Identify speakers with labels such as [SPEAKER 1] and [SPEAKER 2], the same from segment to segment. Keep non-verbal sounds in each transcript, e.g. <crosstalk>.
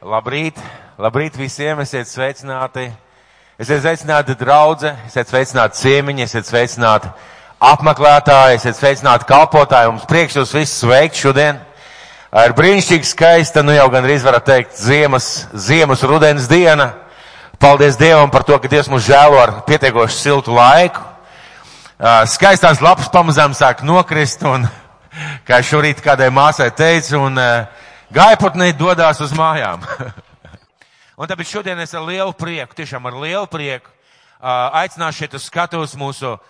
[SPEAKER 1] Labrīt! Labrīt visiem! Esiet sveicināti! Esiet sveicināti draudze, esiet sveicināti ciemiņi, esiet sveicināti apmeklētāji, esiet sveicināti kalpotāji. Mums prieks jūs visus sveikt šodien. Ir brīnišķīgi skaista, nu jau gandrīz varat teikt, ziemas, ziemas rudens diena. Paldies Dievam par to, ka Dievs mūs žēlo ar pietiekoši siltu laiku. Uh, Skaistās lapas pamazām sāk nokrist un, kā šorīt kādai māsai teicu, un uh, gaiputnī dodās uz mājām. <laughs> un tāpēc šodien es ar lielu prieku, tiešām ar lielu prieku uh, aicināšu šeit uz skatuves mūsu uh,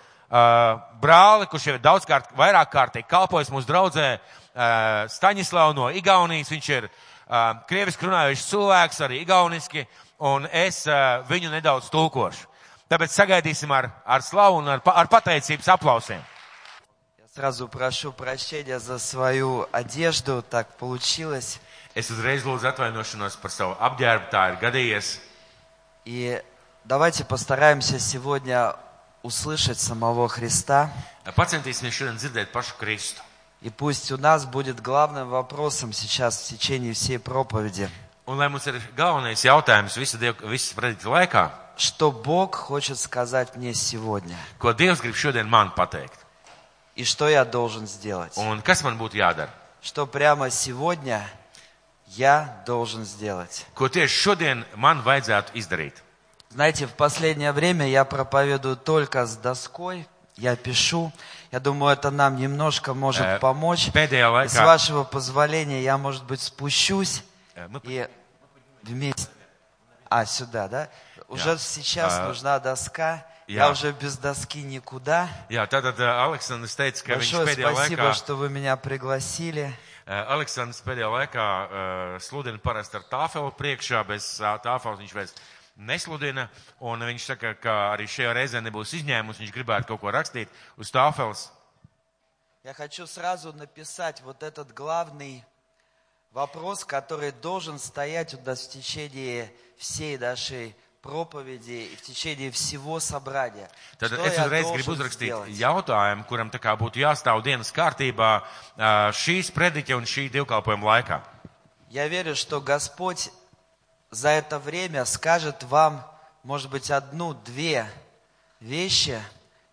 [SPEAKER 1] brāli, kurš jau ir daudzkārt, vairāk kārtīgi kalpojis mūsu draudzē uh, Staņislavu no Igaunijas. Viņš ir uh, krieviski runājušs cilvēks, arī igauniski, un es uh, viņu nedaudz tulkošu. Tāpēc sagaidīsim ar, ar slavu un ar, pa- ar pateicības aplausiem.
[SPEAKER 2] Я сразу прошу прощения за свою одежду, так получилось.
[SPEAKER 1] Es uzreiz lūdzu atvainošanos par savu apģērbu, tā ir gadījies.
[SPEAKER 2] И давайте постараемся сегодня услышать самого Христа.
[SPEAKER 1] Pacentīsimies šodien dzirdēt pašu Kristu.
[SPEAKER 2] И пусть у нас будет главным вопросом сейчас в течение всей проповеди,
[SPEAKER 1] Un lai mums ir galvenais jautājums visu, dievu, visu prediktu laikā,
[SPEAKER 2] что Бог хочет сказать мне сегодня
[SPEAKER 1] ko Dievs grib šodien man pateikt?
[SPEAKER 2] и что я должен сделать.
[SPEAKER 1] Un kas man būtu jādara?
[SPEAKER 2] Что прямо сегодня я должен сделать.
[SPEAKER 1] Ko tieši šodien man vajadzētu izdarīt?
[SPEAKER 2] Знаете, в последнее время я проповедую только с доской, я пишу. Я думаю, это нам немножко может
[SPEAKER 1] Э, а?
[SPEAKER 2] помочь.
[SPEAKER 1] Pēdējā
[SPEAKER 2] И с
[SPEAKER 1] laikā
[SPEAKER 2] вашего позволения я, может быть, спущусь
[SPEAKER 1] eh, nu,
[SPEAKER 2] и вместе... А, сюда, да? Уже сейчас
[SPEAKER 1] А,
[SPEAKER 2] нужна доска.
[SPEAKER 1] я-
[SPEAKER 2] Я уже без doски никуда.
[SPEAKER 1] Jā, tātad eh, Aleksandrs teica, ka viņš
[SPEAKER 2] Большое
[SPEAKER 1] pēdējā
[SPEAKER 2] спасибо,
[SPEAKER 1] laikā,
[SPEAKER 2] что вы меня пригласили.
[SPEAKER 1] eh, Aleksandrs pēdējā laikā eh, sludina parasti ar tāfelu priekšā, bez eh, tāfeles viņš vairs nesludina, un viņš saka, ka arī šajā reizē nebūs izņēmums, viņš gribētu kaut ko rakstīt uz tāfeles.
[SPEAKER 2] Я хочу сразу написать вот этот главный вопрос, который должен стоять у нас в течение всей нашей проповеди и в течение всего собрания.
[SPEAKER 1] Tad
[SPEAKER 2] Что
[SPEAKER 1] es
[SPEAKER 2] я
[SPEAKER 1] uzreiz gribu
[SPEAKER 2] должен
[SPEAKER 1] uzrakstīt
[SPEAKER 2] сделать?
[SPEAKER 1] jautājumu, kuram tā kā būtu jāstāv dienas kārtībā ā, šīs prediķa un šī divkalpojuma laikā.
[SPEAKER 2] Я верю, что Господь за это время скажет вам, может быть, одну-две вещи,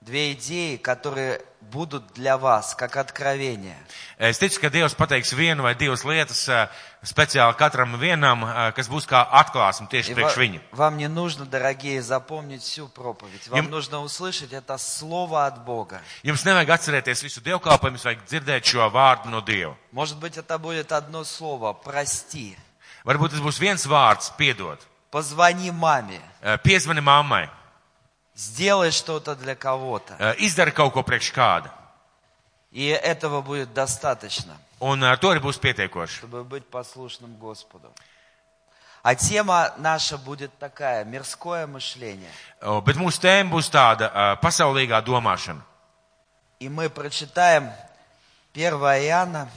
[SPEAKER 2] две идеи, которые будут для вас как откровение.
[SPEAKER 1] Es ticu, ka Dievs pateiks vienu vai divas lietas ā, speciāli katram vienam, ā, kas būs kā atklāsme tieši
[SPEAKER 2] И
[SPEAKER 1] priekš
[SPEAKER 2] ва-
[SPEAKER 1] viņa.
[SPEAKER 2] вам не нужно, дорогие, запомнить всю проповедь. Вам
[SPEAKER 1] Им-
[SPEAKER 2] нужно услышать это слово от Бога.
[SPEAKER 1] Jums nevajag atcerēties visu dievkalpojumu, jums vajag dzirdēt šo vārdu no Dieva.
[SPEAKER 2] Может быть, это будет одно слово «прости»,
[SPEAKER 1] Varbūt tas būs viens vārds, piedod,
[SPEAKER 2] «позвони маме»,
[SPEAKER 1] Ā, piezvani mammai,
[SPEAKER 2] «сделай что-то для кого-то».
[SPEAKER 1] Ā, izdari kaut ko priekš kāda.
[SPEAKER 2] И этого будет достаточно,
[SPEAKER 1] Un ar to arī būs pietiekoši.
[SPEAKER 2] чтобы быть послушным Господу. А тема наша будет такая – мирское мышление.
[SPEAKER 1] O, Bet mūsu tēma būs tāda ā, pasaulīgā domāšana.
[SPEAKER 2] И мы прочитаем 1 Иоанна,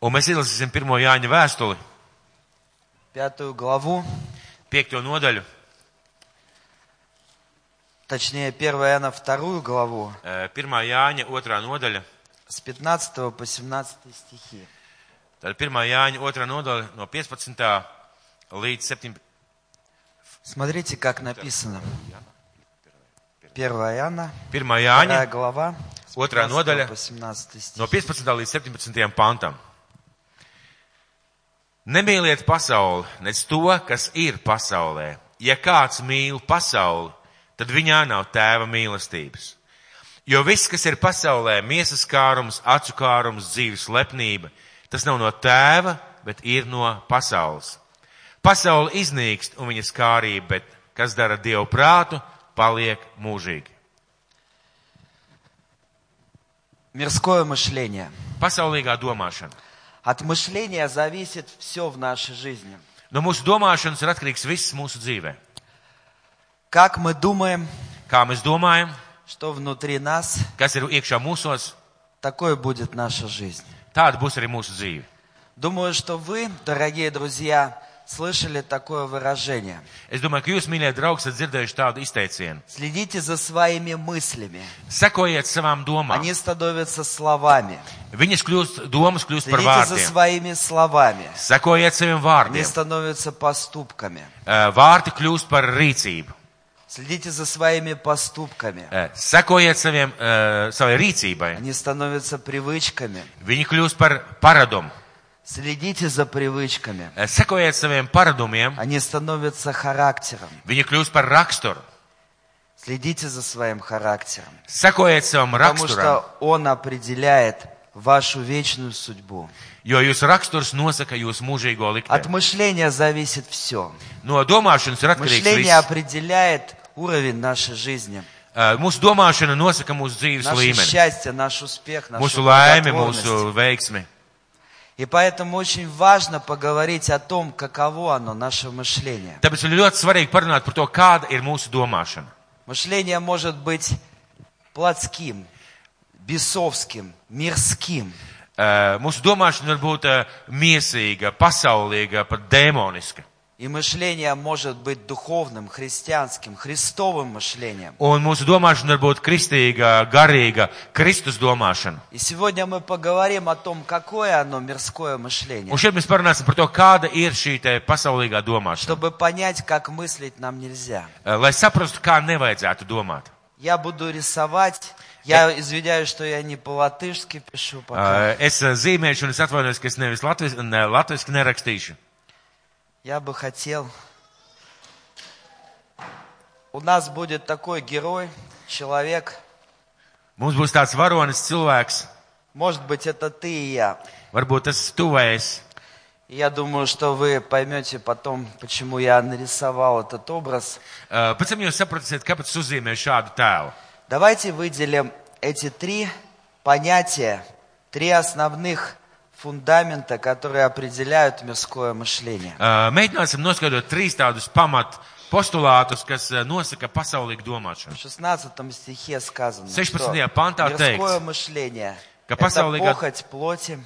[SPEAKER 1] Un mēs izlasīsim 1. Jāņa vēstuli,
[SPEAKER 2] 5 главу,
[SPEAKER 1] 5. nodaļu,
[SPEAKER 2] точнее 1 Иоанна 2 главу,
[SPEAKER 1] eh, 1. Jāņa 2. nodaļa.
[SPEAKER 2] с 15 по 17 стихи.
[SPEAKER 1] Tad 1. Jāņa 2. nodaļa no 15. līdz 17.
[SPEAKER 2] Смотрите, как написано. 1 Иоанна,
[SPEAKER 1] 1.
[SPEAKER 2] 2
[SPEAKER 1] Jāņa
[SPEAKER 2] глава, с
[SPEAKER 1] Otrā
[SPEAKER 2] 15
[SPEAKER 1] nodaļa.
[SPEAKER 2] по 17
[SPEAKER 1] no
[SPEAKER 2] стих.
[SPEAKER 1] 15. līdz 17. pantam. Nemīliet pasauli, nec to, kas ir pasaulē. Ja kāds mīl pasauli, tad viņā nav tēva mīlestības. Jo viss, kas ir pasaulē, miesas kārums, acu kārums, dzīves lepnība, tas nav no tēva, bet ir no pasaules. Pasaule iznīkst un viņas kārība, bet kas dara dievu prātu, paliek mūžīgi.
[SPEAKER 2] Мирское мышление.
[SPEAKER 1] Pasaulīgā domāšana.
[SPEAKER 2] От мышления зависит все в нашей жизни.
[SPEAKER 1] No Nu, mūsu domāšanas ir atkarīgs viss mūsu dzīvē.
[SPEAKER 2] Как мы думаем,
[SPEAKER 1] Kā mēs domājam,
[SPEAKER 2] что внутри нас,
[SPEAKER 1] kas ir iekšā mūsos,
[SPEAKER 2] такой будет наша жизнь.
[SPEAKER 1] tāda būs arī mūsu dzīve.
[SPEAKER 2] Думаю, что вы, дорогие друзья, слышали такое выражение.
[SPEAKER 1] Es domāju, ka jūs, mīļie draugi, esat dzirdējuši tādu izteicienu.
[SPEAKER 2] Следите за своими мыслями.
[SPEAKER 1] Sekojiet savām domām.
[SPEAKER 2] Они становятся словами.
[SPEAKER 1] Viņas kļūst, domas kļūst par
[SPEAKER 2] Следите за
[SPEAKER 1] vārdiem.
[SPEAKER 2] своими словами.
[SPEAKER 1] Sekojiet saviem
[SPEAKER 2] Они
[SPEAKER 1] vārdiem.
[SPEAKER 2] становятся поступками.
[SPEAKER 1] Eh, Vārdi kļūst par rīcību.
[SPEAKER 2] Следите за своими поступками.
[SPEAKER 1] Eh, Sekojiet saviem, eh, savai rīcībai.
[SPEAKER 2] Они становятся привычками.
[SPEAKER 1] Viņi kļūst par paradumu.
[SPEAKER 2] Следите за привычками.
[SPEAKER 1] Eh, Sekojiet saviem paradumiem.
[SPEAKER 2] Они становятся характером.
[SPEAKER 1] Viņi kļūst par raksturu.
[SPEAKER 2] Следите за своим характером.
[SPEAKER 1] Sekojiet savam
[SPEAKER 2] Потому
[SPEAKER 1] raksturam,
[SPEAKER 2] что он определяет вашу вечную судьбу.
[SPEAKER 1] jo jūsu raksturs nosaka jūsu mūžīgo
[SPEAKER 2] От
[SPEAKER 1] likteni.
[SPEAKER 2] мышления зависит все.
[SPEAKER 1] No domāšanas ir atkarīgs
[SPEAKER 2] Мышление
[SPEAKER 1] viss.
[SPEAKER 2] определяет уровень нашей жизни,
[SPEAKER 1] Eh, Mūsu domāšana nosaka mūsu dzīves
[SPEAKER 2] наше
[SPEAKER 1] līmeni,
[SPEAKER 2] счастье, наш успех, нашу
[SPEAKER 1] mūsu laimi,
[SPEAKER 2] благотворность.
[SPEAKER 1] mūsu veiksmi.
[SPEAKER 2] И поэтому очень важно поговорить о том, каково оно, наше мышление.
[SPEAKER 1] Tāpēc ir ļoti svarīgi parunāt par to, kāda ir mūsu domāšana.
[SPEAKER 2] Мышление может быть плотским, бесовским, мирским.
[SPEAKER 1] Eh, Mūsu domāšana var būt eh, miesīga, pasaulīga, pat demoniska.
[SPEAKER 2] И мышление может быть духовным, христианским, христовым мышлением.
[SPEAKER 1] Un mūsu domāšana var būt kristīga, garīga, Kristus domāšana.
[SPEAKER 2] И сегодня мы поговорим о том, какое оно мирское
[SPEAKER 1] Un
[SPEAKER 2] мышление,
[SPEAKER 1] šeit mēs parunāsim par to, kāda ir šī te pasaulīgā domāšana.
[SPEAKER 2] чтобы понять, как мыслить нам нельзя.
[SPEAKER 1] Eh, Lai saprastu, kā nevajadzētu domāt.
[SPEAKER 2] Я буду рисовать. Я извиняюсь, что я не по-латышски пишу пока.
[SPEAKER 1] Eh, Es eh, zīmēšu un es atvainojos, ka es nevis latviski, ne, latviski nerakstīšu.
[SPEAKER 2] Я бы хотел. У нас будет такой герой, человек.
[SPEAKER 1] Mums būs tāds varonis cilvēks,
[SPEAKER 2] Может быть, это ты и я.
[SPEAKER 1] varbūt tas tuvēs.
[SPEAKER 2] И Я думаю, что вы поймете потом, почему я нарисовал этот образ.
[SPEAKER 1] Eh, Pēc tam jūs sapratīsiet, kāpēc es uzzīmēju šādu tēlu.
[SPEAKER 2] Давайте выделим эти три понятия, три основных фундамента, которые определяют мирское мышление.
[SPEAKER 1] Eh, Mēģināsim noskaidrot trīs tādus pamat postulātus, kas eh, nosaka pasaulīgu domāšanu.
[SPEAKER 2] В 16 стихе сказано, что
[SPEAKER 1] 16 пантā
[SPEAKER 2] мирское
[SPEAKER 1] teikts,
[SPEAKER 2] мышление –
[SPEAKER 1] ka
[SPEAKER 2] это
[SPEAKER 1] pasaulīgā-
[SPEAKER 2] похоть плоти,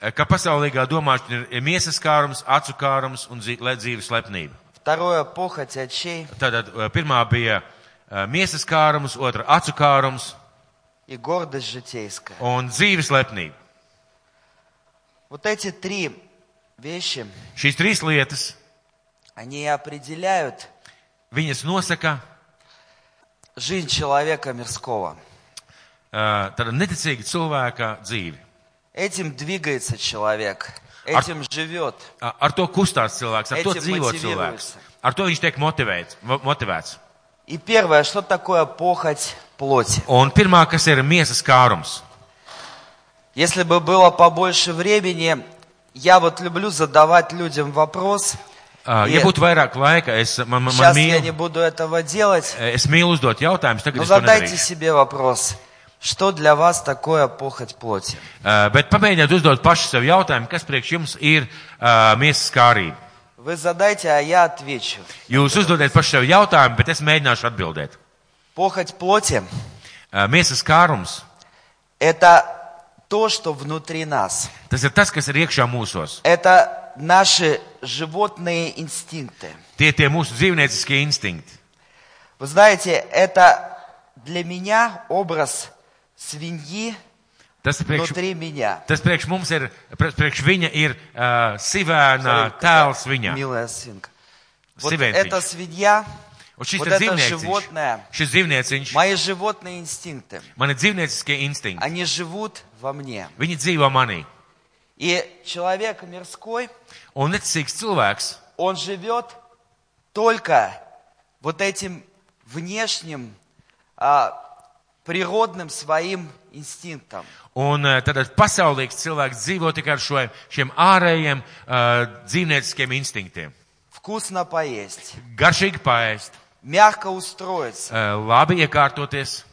[SPEAKER 1] ka pasaulīgā domāšana ir miesas kārums, acu kārums un dzī- le- dzīves lepnība.
[SPEAKER 2] второе – похоть очей
[SPEAKER 1] Tātad eh, pirmā bija eh, miesas kārums, otra acu kārums
[SPEAKER 2] и гордость житейская.
[SPEAKER 1] un dzīves lepnība.
[SPEAKER 2] Вот эти три вещи,
[SPEAKER 1] Šīs trīs lietas,
[SPEAKER 2] они и определяют
[SPEAKER 1] viņas nosaka
[SPEAKER 2] жизнь человека мирского.
[SPEAKER 1] eh, tāda neticīga cilvēka dzīvi.
[SPEAKER 2] Этим двигается человек, этим живет.
[SPEAKER 1] A- Ar to kustās cilvēks, ar to
[SPEAKER 2] Etiķi
[SPEAKER 1] dzīvo
[SPEAKER 2] motivējas.
[SPEAKER 1] cilvēks. Ar to viņš tiek motivēts. mo- motivēts.
[SPEAKER 2] И первое, что такое похоть плоти?
[SPEAKER 1] Un pirmā, kas ir miesas kārums.
[SPEAKER 2] Если бы было побольше времени, я вот люблю задавать людям вопрос.
[SPEAKER 1] Eh, Ja
[SPEAKER 2] Ie-
[SPEAKER 1] būtu vairāk laika, es, man, man, man
[SPEAKER 2] Сейчас я не
[SPEAKER 1] mīlu,
[SPEAKER 2] буду этого делать.
[SPEAKER 1] es mīlu uzdot jautājumus, tagad
[SPEAKER 2] Но
[SPEAKER 1] es to
[SPEAKER 2] задайте
[SPEAKER 1] nedarīšu.
[SPEAKER 2] себе вопрос, что для вас такое похоть плоти?
[SPEAKER 1] Uh, bet pamēģiniet uzdot paši sev jautājumu, kas priekš jums ir uh, miesas kārība.
[SPEAKER 2] Вы задайте, а я отвечу.
[SPEAKER 1] Jūs uzdodiet paši sev jautājumu, bet es mēģināšu atbildēt.
[SPEAKER 2] Похоть плоти
[SPEAKER 1] Uh, miesas kārums
[SPEAKER 2] – это то, что внутри нас.
[SPEAKER 1] tas ir tas, kas ir iekšā mūsos.
[SPEAKER 2] Это наши животные инстинкты.
[SPEAKER 1] Tie tie mūsu dzīvnieciskie instinkti.
[SPEAKER 2] Вы знаете, это для меня образ свиньи
[SPEAKER 1] Tas ir priekš,
[SPEAKER 2] внутри меня.
[SPEAKER 1] tas priekš mums ir, pre- priekš viņa ir uh, sivēna
[SPEAKER 2] Смотри, какая
[SPEAKER 1] tēls viņa.
[SPEAKER 2] Милая свинка. Вот
[SPEAKER 1] Сивенцич.
[SPEAKER 2] это свинья,
[SPEAKER 1] Un šis
[SPEAKER 2] Вот
[SPEAKER 1] ir
[SPEAKER 2] это
[SPEAKER 1] dzīvnieciņš.
[SPEAKER 2] животное.
[SPEAKER 1] Šis dzīvnieciņš,
[SPEAKER 2] мои животные инстинкты,
[SPEAKER 1] man ir dzīvnieciskie instinkti.
[SPEAKER 2] они живут во мне.
[SPEAKER 1] Viņi dzīvo manī.
[SPEAKER 2] И человек мирской,
[SPEAKER 1] Un neticīgs cilvēks,
[SPEAKER 2] он живет только вот этим внешним, а, природным своим инстинктом.
[SPEAKER 1] Un eh, tātad pasaulīgs cilvēks dzīvo tikai ar šo, šiem ārējiem uh, dzīvnieciskiem instinktiem.
[SPEAKER 2] Вкусно поесть,
[SPEAKER 1] Garšīgi paēst,
[SPEAKER 2] мягко устроиться,
[SPEAKER 1] uh, labi iekārtoties,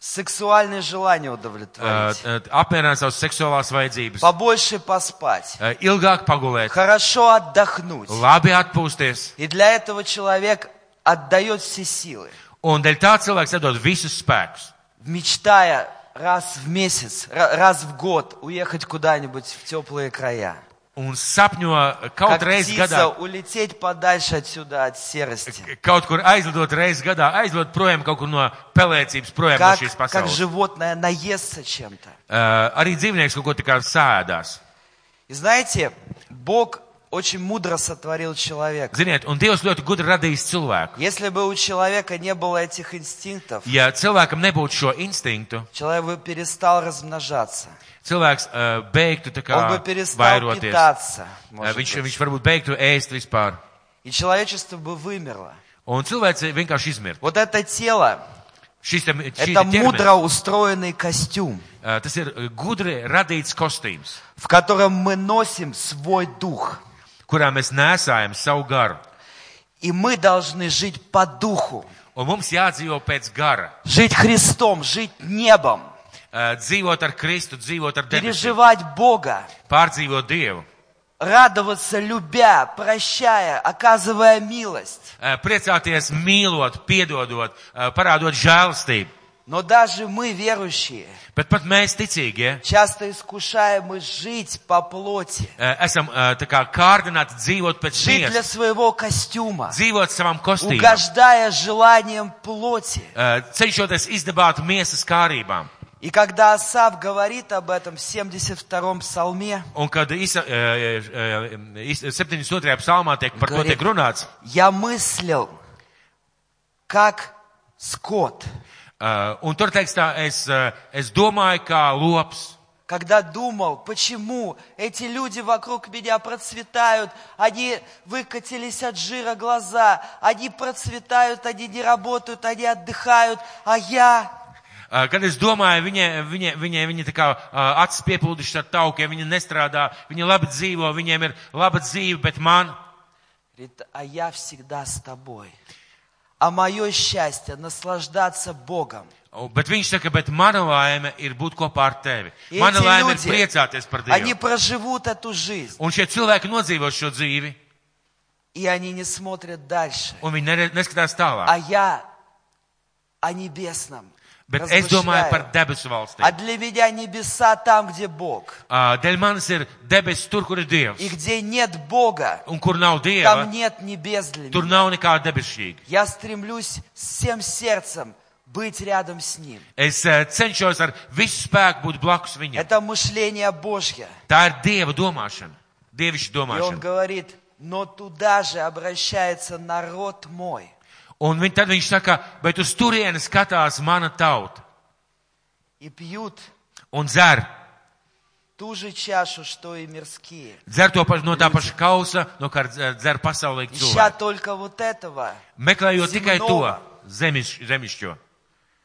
[SPEAKER 2] сексуальные желания
[SPEAKER 1] uh,
[SPEAKER 2] удовлетворить,
[SPEAKER 1] apmierināt savas seksuālās vajadzības, uh,
[SPEAKER 2] побольше поспать,
[SPEAKER 1] ilgāk pagulēt,
[SPEAKER 2] хорошо отдохнуть.
[SPEAKER 1] labi atpūsties.
[SPEAKER 2] И для этого человек отдает все силы,
[SPEAKER 1] Un dēļ tā cilvēks atdod visus spēkus.
[SPEAKER 2] мечтая раз в месяц, ра- раз в год уехать куда-нибудь в теплые края.
[SPEAKER 1] un sapņo eh,
[SPEAKER 2] Как
[SPEAKER 1] kaut reiz
[SPEAKER 2] птица
[SPEAKER 1] gadā,
[SPEAKER 2] улететь подальше отсюда от серости.
[SPEAKER 1] kaut kur aizlidot reiz gadā, aizlidot projām kaut kur no pelēcības, projām no
[SPEAKER 2] Как,
[SPEAKER 1] šīs
[SPEAKER 2] как
[SPEAKER 1] pasaules.
[SPEAKER 2] животное наестся чем-то.
[SPEAKER 1] Uh, arī dzīvnieks kaut ko tā kā sēdās.
[SPEAKER 2] И знаете, Бог очень мудро сотворил человека.
[SPEAKER 1] Ziniet, un Dievs ļoti gudri radījis cilvēku.
[SPEAKER 2] Если бы у человека не было этих инстинктов,
[SPEAKER 1] Ja cilvēkam nebūtu šo instinktu,
[SPEAKER 2] человек бы перестал размножаться.
[SPEAKER 1] cilvēks uh, beigtu tā kā
[SPEAKER 2] Он бы перестал
[SPEAKER 1] vairoties.
[SPEAKER 2] питаться.
[SPEAKER 1] Uh,
[SPEAKER 2] может
[SPEAKER 1] viņš,
[SPEAKER 2] быть.
[SPEAKER 1] viņš varbūt beigtu ēst vispār.
[SPEAKER 2] И человечество бы вымерло.
[SPEAKER 1] Un cilvēks vienkārši izmirst.
[SPEAKER 2] Вот это тело,
[SPEAKER 1] Šis tam šī
[SPEAKER 2] это
[SPEAKER 1] ķermenis,
[SPEAKER 2] мудро ustроенный костюм,
[SPEAKER 1] uh, tas ir uh, gudri radīts kostīms,
[SPEAKER 2] в котором мы nосим свой дух.
[SPEAKER 1] kurā mēs nesājam savu garu.
[SPEAKER 2] И мы должны жить по духу.
[SPEAKER 1] Un mums jādzīvo pēc gara.
[SPEAKER 2] Жить Христом, жить небом.
[SPEAKER 1] Uh, dzīvot ar Kristu, dzīvot ar debesīm,
[SPEAKER 2] Переживать Бога.
[SPEAKER 1] pārdzīvot Dievu,
[SPEAKER 2] Радоваться, любя, прощая, оказывая милость.
[SPEAKER 1] uh, priecāties, mīlot, piedodot, uh, parādot žēlastību.
[SPEAKER 2] Но даже мы, верующие,
[SPEAKER 1] Bet pat mēs, ticīgie,
[SPEAKER 2] часто искушаемы жить по плоти.
[SPEAKER 1] uh, esam uh, tā kā kārdināti dzīvot pēc
[SPEAKER 2] Жить для
[SPEAKER 1] šīs,
[SPEAKER 2] своего костюма.
[SPEAKER 1] dzīvot savam kostīmam,
[SPEAKER 2] Угождая желаниям плоти.
[SPEAKER 1] uh, cenšoties izdabāt miesas kārībām.
[SPEAKER 2] И когда Асав говорит об этом в 72-м псалме,
[SPEAKER 1] Un kad Isa, uh, uh, Is- 72. psalmā tiek par to
[SPEAKER 2] Gari-
[SPEAKER 1] tiek runāts,
[SPEAKER 2] я мыслил, как скот,
[SPEAKER 1] uh, un tur teiks tā, es, uh, es domāju kā lops.
[SPEAKER 2] когда думал, почему эти люди вокруг меня процветают, они выкатились от жира глаза, они процветают, они не работают, они отдыхают, а я...
[SPEAKER 1] Uh, Kad es domāju, viņa, viņa, viņa, viņa tā kā uh, acis piepildījušas ar taukiem, viņa nestrādā, viņa labi dzīvo, viņiem ir laba dzīve, bet man,
[SPEAKER 2] Говорит, а я всегда с тобой. А мое счастье наслаждаться Богом.
[SPEAKER 1] oh, bet viņš saka, bet mana laime ir būt kopā ar tevi.
[SPEAKER 2] И
[SPEAKER 1] Mana laime ir
[SPEAKER 2] эти
[SPEAKER 1] priecāties par
[SPEAKER 2] люди, они
[SPEAKER 1] Dievu.
[SPEAKER 2] проживут эту жизнь,
[SPEAKER 1] Un šie cilvēki nodzīvo šo dzīvi,
[SPEAKER 2] и они не смотрят дальше.
[SPEAKER 1] un viņi nere- neskatās tālāk.
[SPEAKER 2] А я о небесном
[SPEAKER 1] Bet es domāju par
[SPEAKER 2] размышляю.
[SPEAKER 1] debesu valsti.
[SPEAKER 2] А для меня небеса там, где Бог.
[SPEAKER 1] Uh, Dēļ manis ir debesis tur, kur ir
[SPEAKER 2] И
[SPEAKER 1] Dievs.
[SPEAKER 2] где нет Бога,
[SPEAKER 1] Un kur nav
[SPEAKER 2] там
[SPEAKER 1] Dieva,
[SPEAKER 2] нет небес для
[SPEAKER 1] tur
[SPEAKER 2] меня.
[SPEAKER 1] nav nekā debesšķīga.
[SPEAKER 2] Я стремлюсь всем сердцем быть рядом с Ним.
[SPEAKER 1] Es eh, cenšos ar visu spēku būt blakus viņam.
[SPEAKER 2] Это мышление Божье.
[SPEAKER 1] Tā ir Dieva domāšana. Dievišķa
[SPEAKER 2] И Он
[SPEAKER 1] domāšana.
[SPEAKER 2] говорит, но туда же обращается народ мой.
[SPEAKER 1] Un viņ, tad viņš saka, bet uz turieni skatās mana tauta
[SPEAKER 2] И пьют
[SPEAKER 1] un dzer,
[SPEAKER 2] ту же чашу, что и мирские.
[SPEAKER 1] dzer to paš, no tā paša kausa, no kā dzer dzer pasaulīgi
[SPEAKER 2] Ища
[SPEAKER 1] cilvēki.
[SPEAKER 2] только вот этого,
[SPEAKER 1] Meklējot
[SPEAKER 2] Zem
[SPEAKER 1] tikai to
[SPEAKER 2] nova.
[SPEAKER 1] zemiš, zemišķo.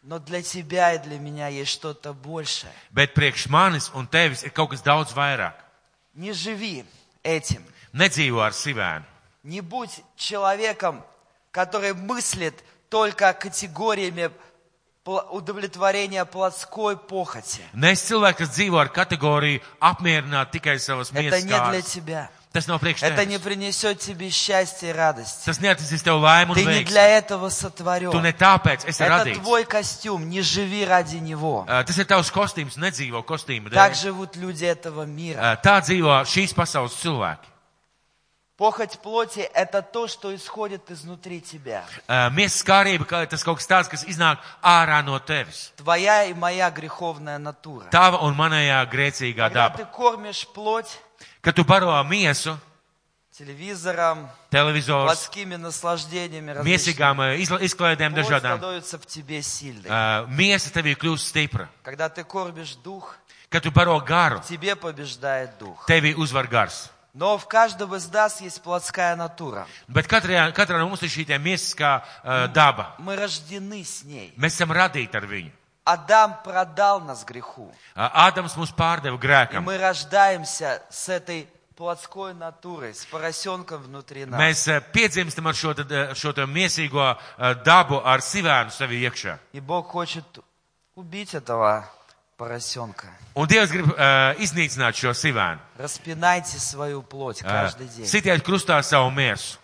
[SPEAKER 2] но для тебя и для меня есть что-то большее.
[SPEAKER 1] Bet priekš manis un tevis ir kaut kas daudz vairāk.
[SPEAKER 2] Не живи этим.
[SPEAKER 1] Nedzīvo ar sivēnu.
[SPEAKER 2] Не будь человеком, который мыслит только категориями пла- удовлетворения плотской похоти.
[SPEAKER 1] Nes cilvēks, kas dzīvo ar kategoriju apmierināt tikai savas
[SPEAKER 2] Это
[SPEAKER 1] miesas.
[SPEAKER 2] не для
[SPEAKER 1] kādas.
[SPEAKER 2] тебя.
[SPEAKER 1] Tas nav priekš
[SPEAKER 2] Это не
[SPEAKER 1] tevis.
[SPEAKER 2] принесет тебе счастья и радости.
[SPEAKER 1] Tas neatnesīs tev laimu un
[SPEAKER 2] Ты не
[SPEAKER 1] veiksmi.
[SPEAKER 2] для этого
[SPEAKER 1] Tu ne
[SPEAKER 2] сотворен.
[SPEAKER 1] tāpēc esi
[SPEAKER 2] Это
[SPEAKER 1] radīts.
[SPEAKER 2] твой костюm, не живи ради него.
[SPEAKER 1] Uh, Tas ir tavs kostīms, nedzīvo kostīma
[SPEAKER 2] Так
[SPEAKER 1] dēļ.
[SPEAKER 2] живут люди этого мира.
[SPEAKER 1] Uh, Tā dzīvo šīs pasaules cilvēki.
[SPEAKER 2] Похоть плоти – это то, что исходит изнутри тебя.
[SPEAKER 1] Uh, Miesas kārība, ka tas kaut kas tāds, kas iznāk ārā no tevis.
[SPEAKER 2] Твоя и моя греховная натура.
[SPEAKER 1] Tava un manējā grēcīgā
[SPEAKER 2] Когда
[SPEAKER 1] daba.
[SPEAKER 2] ты кормишь плоть
[SPEAKER 1] Kad tu baro miesu,
[SPEAKER 2] телевизором,
[SPEAKER 1] televizors,
[SPEAKER 2] плотскими наслаждениями различными.
[SPEAKER 1] miesīgām uh, izla- izklaidēm
[SPEAKER 2] Плоть
[SPEAKER 1] dažādām,
[SPEAKER 2] становится в тебе сильной.
[SPEAKER 1] uh, miesa tevī kļūst stipra.
[SPEAKER 2] Когда ты кормишь дух,
[SPEAKER 1] Kad tu baro garu,
[SPEAKER 2] в тебе побеждает дух.
[SPEAKER 1] tevī uzvar gars.
[SPEAKER 2] Но в каждом из нас есть плотская натура.
[SPEAKER 1] Bet katrā, katrā no mums ir šī tie miesiskā uh, daba.
[SPEAKER 2] Мы рождены с ней.
[SPEAKER 1] Mēs esam radīti ar viņu.
[SPEAKER 2] Адам продал нас греху.
[SPEAKER 1] Uh, Ādams mūs pārdeva
[SPEAKER 2] И
[SPEAKER 1] grēkam.
[SPEAKER 2] мы рождаемся с этой плотской натурой, с поросенком внутри нас.
[SPEAKER 1] Mēs eh, piedzimstam ar šo, tad, eh, šo te miesīgo eh, dabu, ar sivēnu sevi iekšā.
[SPEAKER 2] И Бог хочет убить этого поросенка.
[SPEAKER 1] Un Dievs grib uh, iznīcināt šo sivēnu.
[SPEAKER 2] Распинайте свою плоть
[SPEAKER 1] Uh,
[SPEAKER 2] каждый день.
[SPEAKER 1] sitiet krustā savu miesu.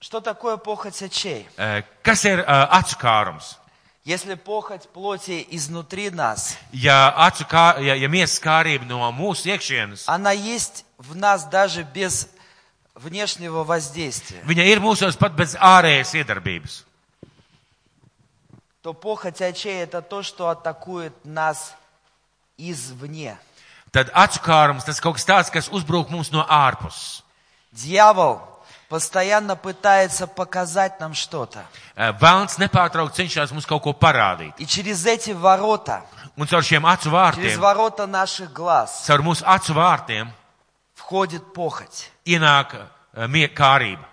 [SPEAKER 2] Что такое похоть очей?
[SPEAKER 1] Uh, kas ir uh, acu kārums?
[SPEAKER 2] Если похоть плоти изнутри нас,
[SPEAKER 1] Ja, acu kā, ja, ja miesas kārība no mūsu iekšienes,
[SPEAKER 2] она есть в нас даже без внешнего воздействия,
[SPEAKER 1] Viņa ir mūsos pat bez ārējas iedarbības.
[SPEAKER 2] то похоть очей – это то, что атакует нас извне.
[SPEAKER 1] Tad acukārums tas kaut kas tāds, kas uzbrūk mums no ārpuses.
[SPEAKER 2] Дьявол постоянно пытается показать нам что-то.
[SPEAKER 1] Eh, Velns nepārtraukti cenšas mums kaut ko parādīt.
[SPEAKER 2] И через эти ворота,
[SPEAKER 1] Un caur šiem acu
[SPEAKER 2] через
[SPEAKER 1] vārtiem,
[SPEAKER 2] ворота наших глаз
[SPEAKER 1] caur mūsu acu vārtiem
[SPEAKER 2] входит похоть.
[SPEAKER 1] ienāk eh, mie- kārība.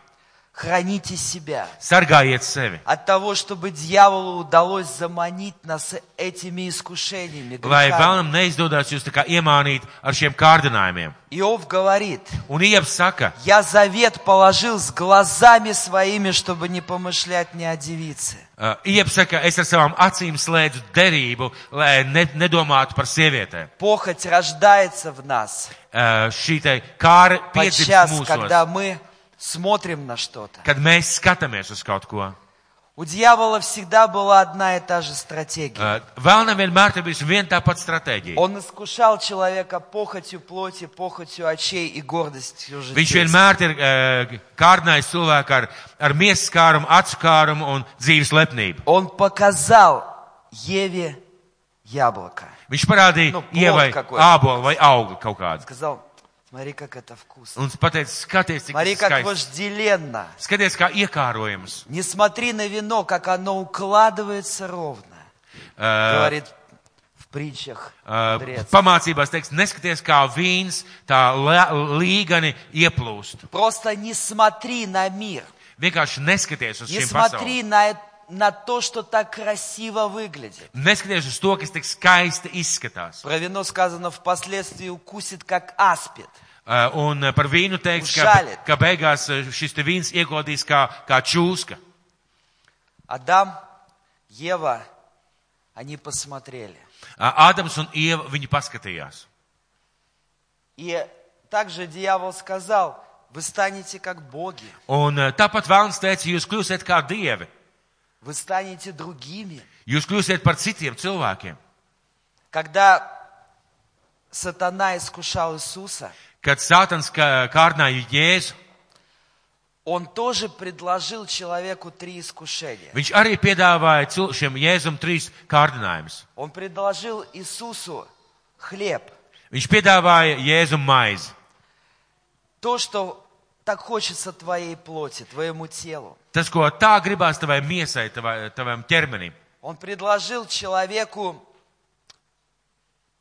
[SPEAKER 2] Храните себя
[SPEAKER 1] Sargājiet sevi,
[SPEAKER 2] от того, чтобы дьяволу удалось заманить нас этими искушениями.
[SPEAKER 1] lai
[SPEAKER 2] грехами.
[SPEAKER 1] vēlam neizdodas jūs tā kā iemānīt ar šiem kārdinājumiem.
[SPEAKER 2] Иов говорит,
[SPEAKER 1] Un Ieps saka,
[SPEAKER 2] я завет положил с глазами своими, чтобы не помышлять ни о девице.
[SPEAKER 1] eh, Ieps saka, es ar savām acīm slēdzu derību, lai ne, nedomātu par sievietēm.
[SPEAKER 2] Похоть рождается в нас
[SPEAKER 1] Eh, Šī te kāra
[SPEAKER 2] подчас,
[SPEAKER 1] piedzimst mūsos.
[SPEAKER 2] когда мы смотрим на что-то.
[SPEAKER 1] kad mēs skatāmies uz kaut ko.
[SPEAKER 2] У дьявола всегда была одна и та же стратегия.
[SPEAKER 1] Uh, Vēlnam vienmēr ir bijusi viena tā pati stratēģija.
[SPEAKER 2] Он искушал человека похотью плоти, похотью очей и гордостью
[SPEAKER 1] Viņš
[SPEAKER 2] житейской.
[SPEAKER 1] vienmēr ir uh, kārdinājis cilvēku ar, ar miesas kārumu, acu kārumu un dzīves lepnību.
[SPEAKER 2] Он показал Еве яблоко.
[SPEAKER 1] Viņš parādīja no,
[SPEAKER 2] Nu, plod
[SPEAKER 1] ievai
[SPEAKER 2] kakoj.
[SPEAKER 1] ābolu vai augli kaut kādu.
[SPEAKER 2] Сказал, смотри, как это вкусно.
[SPEAKER 1] Un pateica, skaties, cik
[SPEAKER 2] Смотри,
[SPEAKER 1] tas
[SPEAKER 2] как
[SPEAKER 1] skaisti.
[SPEAKER 2] вожделенно.
[SPEAKER 1] Skaties, kā iekārojams.
[SPEAKER 2] Не смотри на вино, как оно укладывается ровно.
[SPEAKER 1] Uh,
[SPEAKER 2] Говорит в притчах
[SPEAKER 1] uh,
[SPEAKER 2] мудрец.
[SPEAKER 1] pamācībās teiks, neskaties, kā vīns tā lē- līgani ieplūst.
[SPEAKER 2] Просто не смотри на мир.
[SPEAKER 1] Vienkārši neskaties uz
[SPEAKER 2] Не
[SPEAKER 1] šiem pasaulēm.
[SPEAKER 2] смотри на, э- на то, что так красиvo выглядит.
[SPEAKER 1] Neskaties uz to, kas tik skaisti izskatās.
[SPEAKER 2] Про вино сказано, впоследствии укусит, как аспид.
[SPEAKER 1] Uh, Un uh, par vīnu teiks, ka,
[SPEAKER 2] Žaļi.
[SPEAKER 1] ka beigās uh, šis te vīns iekodīs kā, kā čūska.
[SPEAKER 2] Адам, Ева, они посмотрели.
[SPEAKER 1] Uh, Ādams un Ieva viņi paskatījās.
[SPEAKER 2] И также дьявол сказал, вы станете как боги,
[SPEAKER 1] Un uh, tāpat Vēlns teica, jūs kļūsiet kā dievi,
[SPEAKER 2] вы станете другими.
[SPEAKER 1] jūs kļūsiet par citiem cilvēkiem.
[SPEAKER 2] Когда сатана искушал Иисуса,
[SPEAKER 1] Kad Sātans kā- kārdināja Jēzu,
[SPEAKER 2] он тоже предложил человеку три искушения.
[SPEAKER 1] viņš arī piedāvāja cil- šiem Jēzum trīs kārdinājumus.
[SPEAKER 2] Он предложил Иисусу хлеб,
[SPEAKER 1] Viņš piedāvāja Jēzum maizi.
[SPEAKER 2] то, что так хочется твоей плоти, твоему телу.
[SPEAKER 1] Tas, ko tā gribās tavai miesai, tavai, tavam ķermenim.
[SPEAKER 2] Он предложил человеку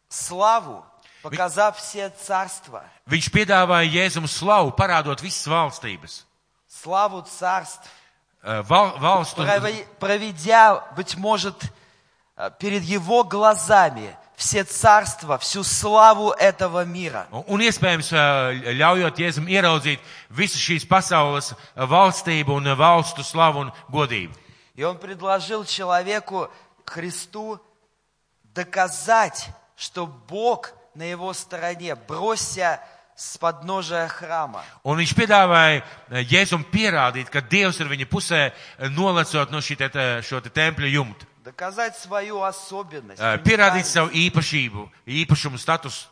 [SPEAKER 2] славу, показав все царства,
[SPEAKER 1] Viņš piedāvāja Jēzum slavu, parādot visas valstības.
[SPEAKER 2] славу царств,
[SPEAKER 1] Uh, Val, valstu,
[SPEAKER 2] прови- проведя, быть может, э, перед его глазами все царства, всю славу этого мира.
[SPEAKER 1] Un, un iespējams, ā, ļaujot Jēzum ieraudzīt visu šīs pasaules ā, valstību un ā, valstu slavu un godību.
[SPEAKER 2] И он предложил человеку, Христу, доказать, что Бог на его стороне, бросься с подножия храма.
[SPEAKER 1] Un viņš piedāvāja ā, Jēzum pierādīt, ka Dievs ir viņa pusē, ā, nolecot no šī te, te, šo te tempļa jumta.
[SPEAKER 2] Доказать свою особенность,
[SPEAKER 1] Ā, Pierādīt
[SPEAKER 2] уникальность,
[SPEAKER 1] savu īpašību, īpašumu status,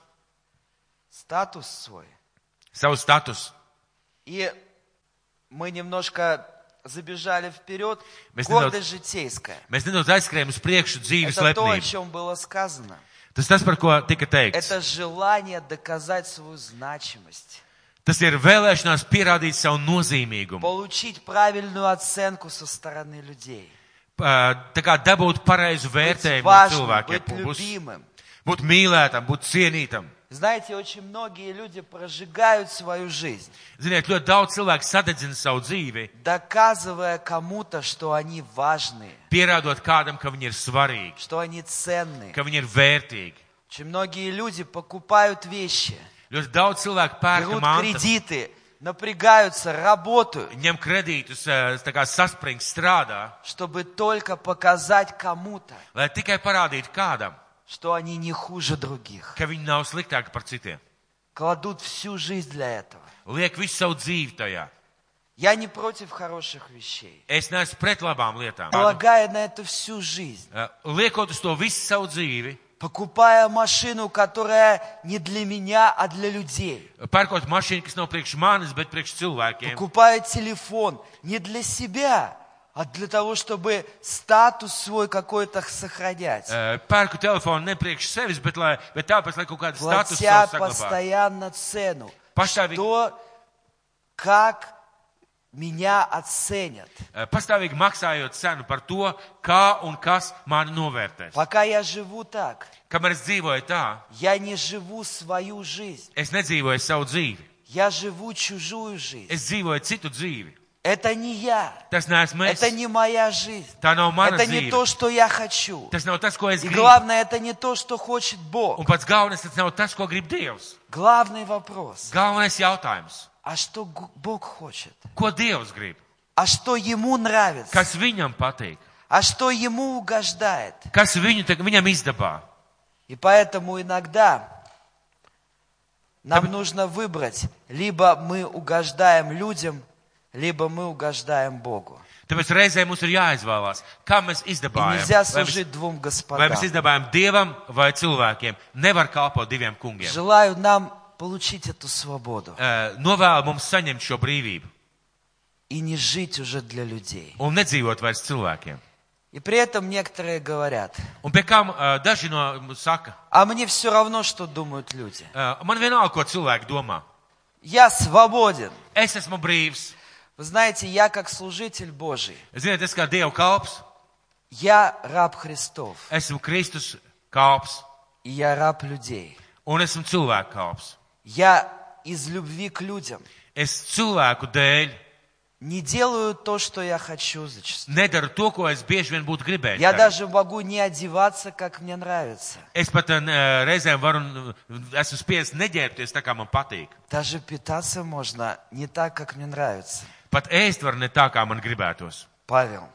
[SPEAKER 2] статус свой.
[SPEAKER 1] savu status.
[SPEAKER 2] И мы немножко забежали вперед.
[SPEAKER 1] Без
[SPEAKER 2] Гордость житейская.
[SPEAKER 1] Mēs nedaudz aizskrējam uz priekšu dzīves
[SPEAKER 2] Это то, о
[SPEAKER 1] lepnību.
[SPEAKER 2] чем было сказано.
[SPEAKER 1] Tas tas, par ko tika teikts.
[SPEAKER 2] Это желание doказать свою значимость,
[SPEAKER 1] Tas ir vēlēšanās pierādīt savu nozīmīgumu,
[SPEAKER 2] получить правильную оценку со стороны людей,
[SPEAKER 1] Ā, Eh, tā kā dabūt pareizu
[SPEAKER 2] быть
[SPEAKER 1] vērtējumu no
[SPEAKER 2] важным,
[SPEAKER 1] cilvēkiem.
[SPEAKER 2] быть
[SPEAKER 1] Būs-
[SPEAKER 2] любимым.
[SPEAKER 1] būt mīlētam, būt cienītam.
[SPEAKER 2] Знаете, очень многие люди прожигают свою жизнь,
[SPEAKER 1] Ziniet, ļoti daudz cilvēku sadedzina savu dzīvi,
[SPEAKER 2] доказывая кому-то, что они важные,
[SPEAKER 1] pierādot kādam, ka viņi ir svarīgi,
[SPEAKER 2] что они ценные.
[SPEAKER 1] ka viņi ir vērtīgi.
[SPEAKER 2] Очень многие люди покупают вещи,
[SPEAKER 1] Ļoti daudz cilvēku pērk
[SPEAKER 2] берут
[SPEAKER 1] mantas,
[SPEAKER 2] кредиты, напрягаются, работают,
[SPEAKER 1] ņem kredītus, eh, tā kā saspringti strādā,
[SPEAKER 2] чтобы только показать kому-то,
[SPEAKER 1] lai tikai parādītu kādam,
[SPEAKER 2] что они не хуже других.
[SPEAKER 1] ka viņi nav sliktāki par citiem.
[SPEAKER 2] Кладут всю жизнь для этого.
[SPEAKER 1] Liek visu savu dzīvi tajā.
[SPEAKER 2] Я не против хороших вещей.
[SPEAKER 1] Es neesmu pret labām lietām.
[SPEAKER 2] Полагая на это всю жизнь,
[SPEAKER 1] Eh, Liekot uz to visu savu dzīvi,
[SPEAKER 2] покупая машину, которая не для меня, а для людей.
[SPEAKER 1] Pērkot mašīnu, kas nav priekš manis, bet priekš
[SPEAKER 2] Nu,
[SPEAKER 1] cilvēkiem.
[SPEAKER 2] Покупая телефон не для себя, а для того, чтобы статус свой какой-то сохранять.
[SPEAKER 1] Eh, Pērku telefonu ne priekš sevis, bet, lai, bet tāpēc, lai kaut kāda status
[SPEAKER 2] Платя
[SPEAKER 1] savu saglabātu.
[SPEAKER 2] постоянно цену.
[SPEAKER 1] Поставить-
[SPEAKER 2] Что, как меня оценят.
[SPEAKER 1] Eh, Pastāvīgi maksājot cenu par to, kā un kas mani novērtēs.
[SPEAKER 2] Пока я живу так,
[SPEAKER 1] Kamēr es dzīvoju tā,
[SPEAKER 2] я не живу свою жизнь.
[SPEAKER 1] es nedzīvoju savu dzīvi.
[SPEAKER 2] Я живу чужую жизнь.
[SPEAKER 1] Es dzīvoju citu dzīvi.
[SPEAKER 2] Это не я.
[SPEAKER 1] Tas neesmu es.
[SPEAKER 2] Это не моя жизнь.
[SPEAKER 1] Tā nav mana
[SPEAKER 2] Это не то,
[SPEAKER 1] dzīve.
[SPEAKER 2] что я хочу.
[SPEAKER 1] Tas nav tas, ko es
[SPEAKER 2] И
[SPEAKER 1] gribu.
[SPEAKER 2] главное, это не то, что хочет Бог.
[SPEAKER 1] Un pats galvenais, tas nav tas, ko grib Dievs.
[SPEAKER 2] Главный вопрос.
[SPEAKER 1] Galvenais jautājums.
[SPEAKER 2] А что Г- Бог хочет?
[SPEAKER 1] Ko Dievs grib?
[SPEAKER 2] А что Ему нравится?
[SPEAKER 1] Kas viņam patīk?
[SPEAKER 2] А что Ему угождает?
[SPEAKER 1] Kas viņu, tag- viņam izdabā?
[SPEAKER 2] И поэтому иногда нам нужно выбрать, либо мы угождаем людям, либо мы угождаем Богу.
[SPEAKER 1] Tāpēc reizē mums ir jāizvēlās, kā mēs
[SPEAKER 2] И
[SPEAKER 1] izdabājam.
[SPEAKER 2] нельзя
[SPEAKER 1] Vai mēs,
[SPEAKER 2] служить двум
[SPEAKER 1] vai mēs
[SPEAKER 2] господам.
[SPEAKER 1] izdabājam Dievam vai cilvēkiem? Nevar kalpot diviem kungiem.
[SPEAKER 2] Желаю нам получить эту свободу
[SPEAKER 1] Eh, Novēlu mums saņemt šo brīvību
[SPEAKER 2] и не жить уже для людей.
[SPEAKER 1] un nedzīvot vairs cilvēkiem.
[SPEAKER 2] И при этом некоторые говорят,
[SPEAKER 1] Un pie kam eh, daži no mums saka,
[SPEAKER 2] а мне все равно, что думают люди.
[SPEAKER 1] eh, man vienalga, ko cilvēki domā.
[SPEAKER 2] Я свободен.
[SPEAKER 1] Es esmu brīvs.
[SPEAKER 2] Вы знаете, я как служитель Божий,
[SPEAKER 1] Ziniet, es kā Dieva kalps,
[SPEAKER 2] я раб Христов,
[SPEAKER 1] esmu Kristus kalps
[SPEAKER 2] и я раб людей.
[SPEAKER 1] un esmu cilvēku kalps.
[SPEAKER 2] Я из любви к людям
[SPEAKER 1] Es cilvēku dēļ
[SPEAKER 2] не делаю то, что я хочу зачастую.
[SPEAKER 1] nedaru to, ko es bieži vien būtu gribējis.
[SPEAKER 2] Я
[SPEAKER 1] darīt.
[SPEAKER 2] даже могу не одеваться, как мне нравится.
[SPEAKER 1] Es pat eh, reizēm varu, eh, esmu spiests neģērbties tā, kā man patīk.
[SPEAKER 2] Даже питаться можно не так, как мне нравится.
[SPEAKER 1] Pat ēst var ne tā, kā man gribētos.
[SPEAKER 2] Павел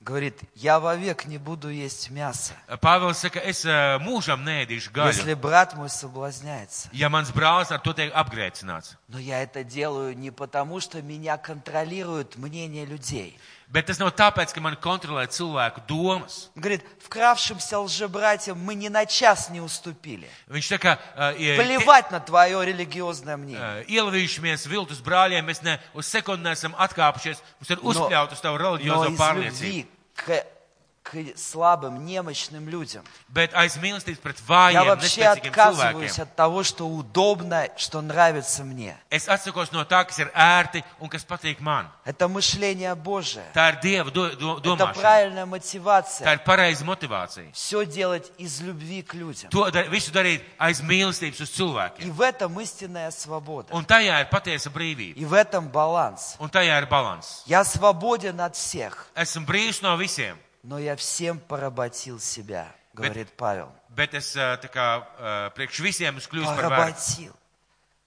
[SPEAKER 2] говорит, я вовек не буду есть мясо,
[SPEAKER 1] Uh, Pāvils saka, es eh, mūžam nēdīšu gaļu,
[SPEAKER 2] если брат мой соблазняется.
[SPEAKER 1] ja mans brālis ar to tiek apgrēcināts.
[SPEAKER 2] Но я это делаю не потому, что меня контролирует мнение людей.
[SPEAKER 1] Bet tas nav tāpēc, ka man kontrolē cilvēku domas.
[SPEAKER 2] Он Говорит, вкравшимся лжебратьям мы ни на час не уступили.
[SPEAKER 1] Viņš saka, uh,
[SPEAKER 2] Плевать на твое религиозное мнение.
[SPEAKER 1] ielavījušamies Eh, viltus brāļiem, mēs ne uz sekundi neesam atkāpušies, mums ir
[SPEAKER 2] Но-
[SPEAKER 1] uzpļauta uz tavu
[SPEAKER 2] Но
[SPEAKER 1] reliģiozo
[SPEAKER 2] из
[SPEAKER 1] pārliecību.
[SPEAKER 2] любви к, к слабым, немощным людям.
[SPEAKER 1] Bet aiz mīlestības pret
[SPEAKER 2] Я
[SPEAKER 1] vājiem,
[SPEAKER 2] вообще
[SPEAKER 1] nespēcīgiem
[SPEAKER 2] отказываюсь
[SPEAKER 1] cilvēkiem.
[SPEAKER 2] от того, что удобно, что нравится мне.
[SPEAKER 1] Es atsakos no tā, kas ir ērti un kas patīk man.
[SPEAKER 2] Это мышление Божие.
[SPEAKER 1] Tā ir Dieva do, do,
[SPEAKER 2] Это
[SPEAKER 1] domāšana.
[SPEAKER 2] правильная
[SPEAKER 1] Tā
[SPEAKER 2] мотивация.
[SPEAKER 1] ir pareiza motivācija.
[SPEAKER 2] Все делать из любви к людям.
[SPEAKER 1] To dar, visu darīt aiz mīlestības uz cilvēkiem.
[SPEAKER 2] И в этом истинная свобода.
[SPEAKER 1] Un tajā ir patiesa brīvība.
[SPEAKER 2] И в этом баланс.
[SPEAKER 1] Un tajā ir balanss.
[SPEAKER 2] Я свободен от всех,
[SPEAKER 1] Esmu brīvs no visiem,
[SPEAKER 2] но я всем поработил себя, говорит Павел.
[SPEAKER 1] bet es eh, tā kā eh, priekš visiem esmu kļuvis par vērtību.
[SPEAKER 2] Поработил.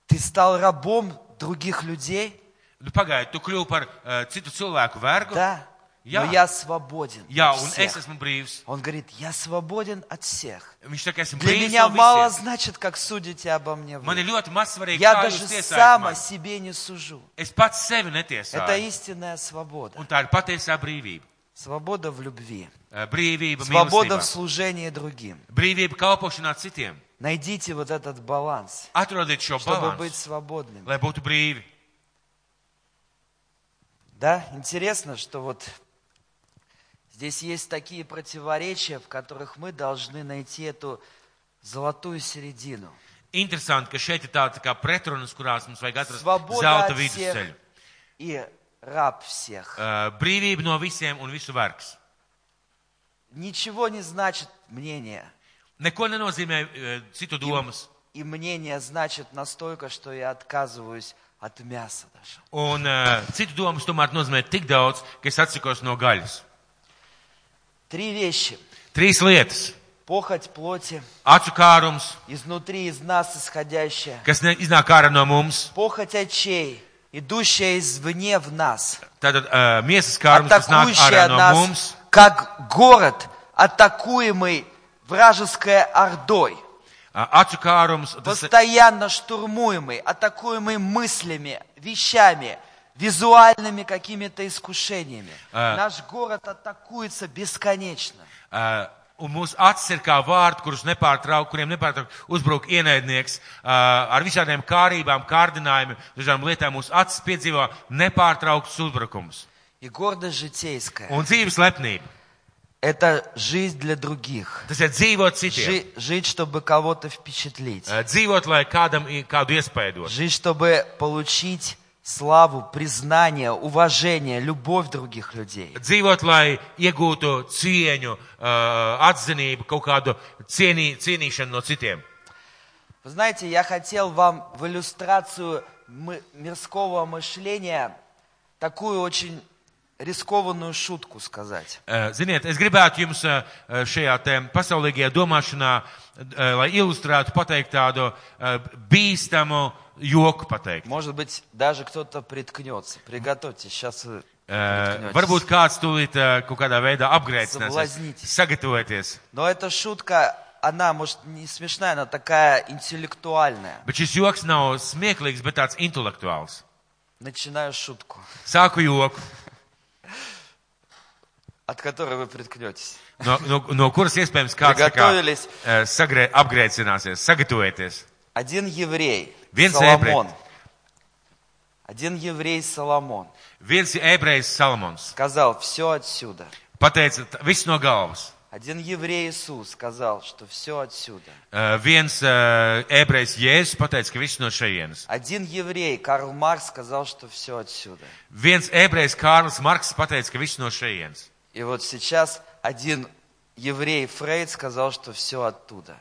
[SPEAKER 2] Ты стал рабом других людей?
[SPEAKER 1] Nu, pagaidu, tu kļūsi par eh, citu cilvēku vergu.
[SPEAKER 2] Да.
[SPEAKER 1] Я.
[SPEAKER 2] Но я свободен
[SPEAKER 1] Jā,
[SPEAKER 2] от
[SPEAKER 1] un
[SPEAKER 2] всех.
[SPEAKER 1] es esmu brīvs.
[SPEAKER 2] Он говорит, я свободен от всех.
[SPEAKER 1] Viņš saka, esmu
[SPEAKER 2] Для
[SPEAKER 1] brīvs.
[SPEAKER 2] меня
[SPEAKER 1] No
[SPEAKER 2] мало
[SPEAKER 1] visiem.
[SPEAKER 2] значит, как судите обо мне вы.
[SPEAKER 1] Man ir ļoti maz svarīgi,
[SPEAKER 2] Я
[SPEAKER 1] kā
[SPEAKER 2] даже
[SPEAKER 1] jūs tiesājat.
[SPEAKER 2] сам о
[SPEAKER 1] mani.
[SPEAKER 2] себе не сужу.
[SPEAKER 1] Es pats sevi
[SPEAKER 2] Это
[SPEAKER 1] netiesāju.
[SPEAKER 2] истинная свобода.
[SPEAKER 1] Un tā ir patiesā brīvība.
[SPEAKER 2] Свобода в любви.
[SPEAKER 1] Eh, Brīvība,
[SPEAKER 2] Свобода
[SPEAKER 1] mīlestība.
[SPEAKER 2] в служении другим.
[SPEAKER 1] Brīvība kalpošanā citiem.
[SPEAKER 2] Найдите вот этот баланс,
[SPEAKER 1] Atrodiet šo
[SPEAKER 2] чтобы быть
[SPEAKER 1] balansu,
[SPEAKER 2] свободным.
[SPEAKER 1] lai būtu brīvi.
[SPEAKER 2] Да, интересно, что вот здесь есть такие противоречия, в которых мы должны найти эту золотую середину.
[SPEAKER 1] Interesanti, ka šeit ir tāda tā kā pretrunas, kurās mums vajag atrast
[SPEAKER 2] Svoboda
[SPEAKER 1] zelta
[SPEAKER 2] от
[SPEAKER 1] vidusceļu.
[SPEAKER 2] всех и раб всех.
[SPEAKER 1] Uh, brīvība no visiem un visu vergs.
[SPEAKER 2] Ничего не значит мнение.
[SPEAKER 1] Neko nenozīmē uh, citu domas.
[SPEAKER 2] И мнение значит настолько, что я отказываюсь от мяса даже.
[SPEAKER 1] Un uh, citu domas tomēr nozīmē tik daudz, ka es atsakos no gaļas.
[SPEAKER 2] Три вещи.
[SPEAKER 1] Trīs lietas
[SPEAKER 2] Похоть плоти,
[SPEAKER 1] - acu kārums,
[SPEAKER 2] изнутри из нас исходящая.
[SPEAKER 1] kas ne, iznāk ārā no mums,
[SPEAKER 2] Похоть очей, идущая извне в нас.
[SPEAKER 1] tātad uh, miesas kārums, kas nāk ārā
[SPEAKER 2] атакующая
[SPEAKER 1] no mums,
[SPEAKER 2] нас, как город, атакуемый вражеской ордой,
[SPEAKER 1] uh, acu kārums, tas,
[SPEAKER 2] постоянно штурмуемый, атакуемый мыслями, вещами, визуальными какими-то искушениями.
[SPEAKER 1] А.
[SPEAKER 2] Наш город атакуется бесконечно.
[SPEAKER 1] uh, Un mūsu acis ir kā vārti, kurus nepārtrauk, kuriem nepārtraukti uzbruk ienaidnieks ā, ar visādiem kārībām, kārdinājumiem, dažām lietām. Mūsu acis piedzīvo nepārtrauktus uzbrukumus.
[SPEAKER 2] И гордость житейская
[SPEAKER 1] Un dzīves lepnība.
[SPEAKER 2] – это жизнь для других.
[SPEAKER 1] Tas ir dzīvot citiem.
[SPEAKER 2] Жи- жить, чтобы кого-то впечатлить.
[SPEAKER 1] Ā, Dzīvot, lai kādam i- kādu iespēdot.
[SPEAKER 2] Жить, чтобы получить славу, признание, уважение, любовь других людей.
[SPEAKER 1] Dzīvot, lai iegūtu cieņu, ā, atzinību, kaut kādu cienī, cienīšanu no citiem.
[SPEAKER 2] Вы знаете, я хотел вам в иллюстрацию мы- мирского мышления такую очень рискованную шутку сказать.
[SPEAKER 1] Eh, Ziniet, es gribētu jums eh, šajā te pasaulīgajā domāšanā, eh, lai ilustrētu, pateikt tādu eh, bīstamu joku pateikt.
[SPEAKER 2] Может быть, даже кто-то приткнется. Приготовьтесь, сейчас вы
[SPEAKER 1] Eh,
[SPEAKER 2] приткнетесь.
[SPEAKER 1] Varbūt kāds tūlīt eh, kaut kādā veidā apgrēcinās.
[SPEAKER 2] Sablaznītis.
[SPEAKER 1] Sagatavojieties.
[SPEAKER 2] Но эта шутка, она, может, не смешная, она такая интеллектуальная.
[SPEAKER 1] Bet šis joks nav smieklīgs, bet tāds intelektuāls.
[SPEAKER 2] Начинаю шутку,
[SPEAKER 1] Sāku joku,
[SPEAKER 2] от которой вы приткнетесь.
[SPEAKER 1] no, no, no kuras iespējams kāds tā kā,
[SPEAKER 2] Gatavojies.
[SPEAKER 1] eh, sagrē, apgrēcināsies. Sagatavojieties.
[SPEAKER 2] Один еврей,
[SPEAKER 1] Вен
[SPEAKER 2] Соломон. Один еврей, Соломон,
[SPEAKER 1] Viens ebrejs Salmons
[SPEAKER 2] сказал, все отсюда.
[SPEAKER 1] pateica, "T- viss no galvas.
[SPEAKER 2] Один еврей Иисус сказал, что все отсюда.
[SPEAKER 1] Uh, viens uh, ebrejs Jēzus pateica, ka viss no šejienes.
[SPEAKER 2] Один еврей, Карл Маркс, сказал, что все отсюда.
[SPEAKER 1] Viens ebrejs Kārlis Marks pateica, ka viss no šejienes.
[SPEAKER 2] И вот сейчас один еврей Фрейд сказал, что все оттуда.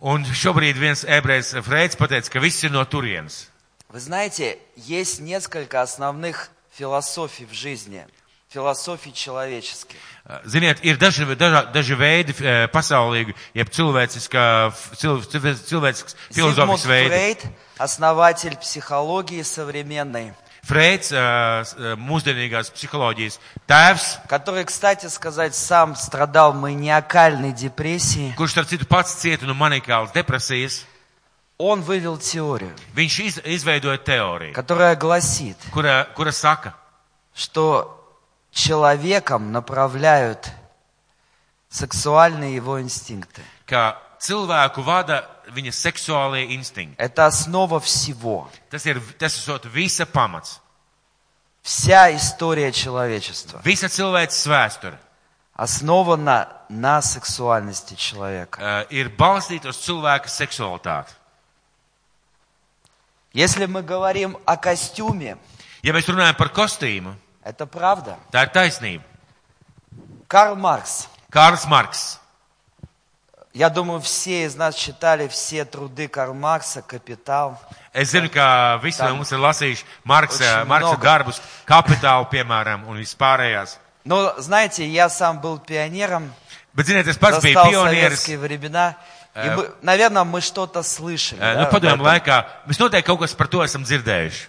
[SPEAKER 1] Un šobrīd viens ebrejs Freids pateica, ka viss ir no turienes.
[SPEAKER 2] Вы знаете, есть несколько основных философий в жизни, философий человеческих.
[SPEAKER 1] Uh, Ziniet, ir daži, daža, daži veidi uh, pasaulīgi, jeb cilvēciskā, f- cil, cil- cilvēcisks
[SPEAKER 2] Зигмунд
[SPEAKER 1] filozofisks veidi.
[SPEAKER 2] Фрейд, основатель психологии современной,
[SPEAKER 1] Freids, uh, s- uh, mūsdienīgās psiholoģijas tēvs,
[SPEAKER 2] который, кстати сказать, сам страдал маниакальной депрессией,
[SPEAKER 1] kurš starp citu pats cieta no manikālas depresijas,
[SPEAKER 2] он вывел теорию,
[SPEAKER 1] viņš iz, izveidoja teoriju,
[SPEAKER 2] которая гласит,
[SPEAKER 1] kura, kura saka,
[SPEAKER 2] что человеком направляют сексуальные его инстинкты.
[SPEAKER 1] ka cilvēku vada viņa seksuālie instinkti.
[SPEAKER 2] Это основа всего,
[SPEAKER 1] Tas ir, tas ir visa pamats,
[SPEAKER 2] вся история человечества.
[SPEAKER 1] visa cilvēces vēsture
[SPEAKER 2] основана на сексуальности человека.
[SPEAKER 1] uh, ir balstīta uz cilvēka seksualitāti.
[SPEAKER 2] Если мы говорим о костюме,
[SPEAKER 1] Ja mēs runājam par kostīmu,
[SPEAKER 2] это правда.
[SPEAKER 1] tā ir taisnība.
[SPEAKER 2] Карл Маркс,
[SPEAKER 1] Kārls Marks.
[SPEAKER 2] я думаю, все из нас читали все труды Карла Маркса «Капитал».
[SPEAKER 1] Es zinu, ka visi
[SPEAKER 2] Tā.
[SPEAKER 1] no mums ir lasījuši Marksa,
[SPEAKER 2] Очень
[SPEAKER 1] Marksa
[SPEAKER 2] много.
[SPEAKER 1] darbus, kapitālu, piemēram, un vispārējās.
[SPEAKER 2] Но, знаете, я сам был пионером,
[SPEAKER 1] Bet, ziniet, es pats biju
[SPEAKER 2] застал
[SPEAKER 1] pionieris.
[SPEAKER 2] советские времена, и,
[SPEAKER 1] Э,
[SPEAKER 2] мы- наверное, мы что-то слышали.
[SPEAKER 1] eh,
[SPEAKER 2] да,
[SPEAKER 1] Nu,
[SPEAKER 2] об
[SPEAKER 1] padomu
[SPEAKER 2] этом.
[SPEAKER 1] laikā mēs noteikti kaut kas par to esam dzirdējuši.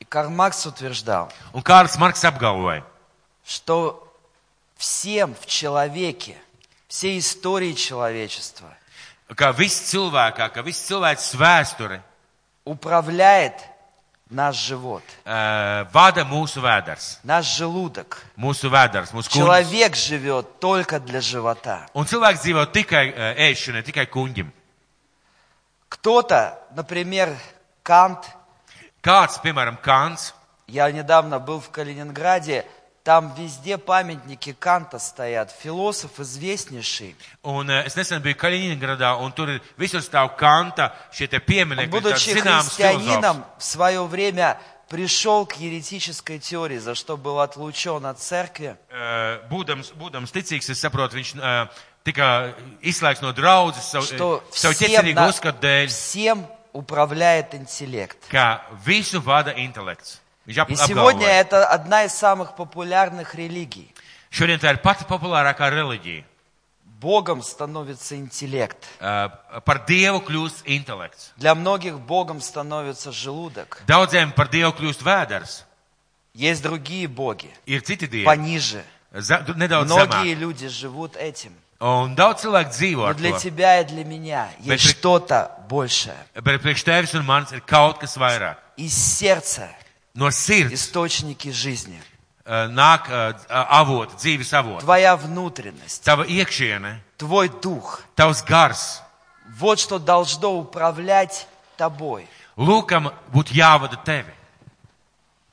[SPEAKER 2] И Карл Маркс утверждал,
[SPEAKER 1] Un Kārls Marks apgalvoja,
[SPEAKER 2] что всем в человеке, всей истории человечества
[SPEAKER 1] ka viss cilvēkā, ka viss cilvēks vēsture
[SPEAKER 2] управляет наш живот.
[SPEAKER 1] uh, vada mūsu vēders,
[SPEAKER 2] наш желудок.
[SPEAKER 1] mūsu vēders, mūsu kundze.
[SPEAKER 2] Человек живет только для живота.
[SPEAKER 1] Un cilvēks dzīvo tikai uh, ēšanai, tikai kungam.
[SPEAKER 2] Кто-то, например, Кант,
[SPEAKER 1] Kāds, piemēram, Kants,
[SPEAKER 2] я недавно был в Калининграде, там везде памятники Канта стоят, философ известнейший.
[SPEAKER 1] un uh, es nesen biju Kaļiņgradā, un tur ir visur stāv Kanta šie te
[SPEAKER 2] Он,
[SPEAKER 1] pieminekļi. tāds
[SPEAKER 2] будучи
[SPEAKER 1] zināms filozofs.
[SPEAKER 2] христианином, в свое время пришел к еретической теории, за что был отлучен от церкви.
[SPEAKER 1] Uh, būdams, būdams ticīgs, es saprotu, viņš uh, tika izslēgts no draudzes savu,
[SPEAKER 2] Что
[SPEAKER 1] eh, savu
[SPEAKER 2] всем,
[SPEAKER 1] ķecerīgu
[SPEAKER 2] на-
[SPEAKER 1] uzskatu dēļ,
[SPEAKER 2] всем управляет интеллект.
[SPEAKER 1] ka visu vada intelekts. Viņš ap,
[SPEAKER 2] И
[SPEAKER 1] apgalvoja.
[SPEAKER 2] сегодня это одна из самых популярных религий.
[SPEAKER 1] Šodien tā ir pati populārākā reliģija.
[SPEAKER 2] Богом становится интеллект.
[SPEAKER 1] Uh, par dievu kļūst intelekts.
[SPEAKER 2] Для многих Богом становится желудок.
[SPEAKER 1] Daudziem par dievu kļūst vēders.
[SPEAKER 2] Есть другие боги,
[SPEAKER 1] Ir citi dievi,
[SPEAKER 2] пониже.
[SPEAKER 1] za, du- nedaudz zemāki.
[SPEAKER 2] Многие люди живут этим.
[SPEAKER 1] Un daudz cilvēku dzīvo
[SPEAKER 2] Но
[SPEAKER 1] ar
[SPEAKER 2] для
[SPEAKER 1] to.
[SPEAKER 2] тебя и для меня есть
[SPEAKER 1] при-
[SPEAKER 2] что-то большее.
[SPEAKER 1] Bet priekš tevis un manis ir kaut kas vairāk.
[SPEAKER 2] Из сердца
[SPEAKER 1] No sirds <laughs>
[SPEAKER 2] источники жизни.
[SPEAKER 1] eh, nāk eh, avoti, dzīves avoti.
[SPEAKER 2] твоя внутренность,
[SPEAKER 1] Tava iekšiene,
[SPEAKER 2] твой дух.
[SPEAKER 1] tavs gars.
[SPEAKER 2] Вот что должно управлять тобой.
[SPEAKER 1] Lūkam būtu jāvada tevi.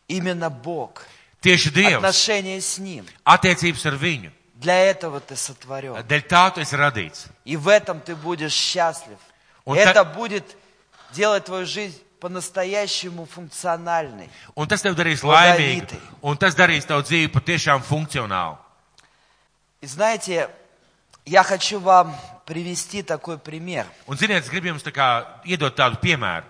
[SPEAKER 2] Именно Бог.
[SPEAKER 1] Tieši Dievs,
[SPEAKER 2] Отношения с Ним.
[SPEAKER 1] attiecības ar viņu.
[SPEAKER 2] Для этого ты сотворен.
[SPEAKER 1] Dēļ tā tu esi radīts.
[SPEAKER 2] И в этом ты будешь счастлив.
[SPEAKER 1] Он
[SPEAKER 2] Это
[SPEAKER 1] так-
[SPEAKER 2] будет делать твою жизнь по-настоящему функциональной.
[SPEAKER 1] Un tas tev darīs
[SPEAKER 2] Laimīti.
[SPEAKER 1] laimīgu. Un tas darīs tavu dzīvi patiešām funkcionālu.
[SPEAKER 2] И знаете, я хочу вам привести такой пример,
[SPEAKER 1] Un ziniet, es gribu jums tā kā iedot tādu piemēru,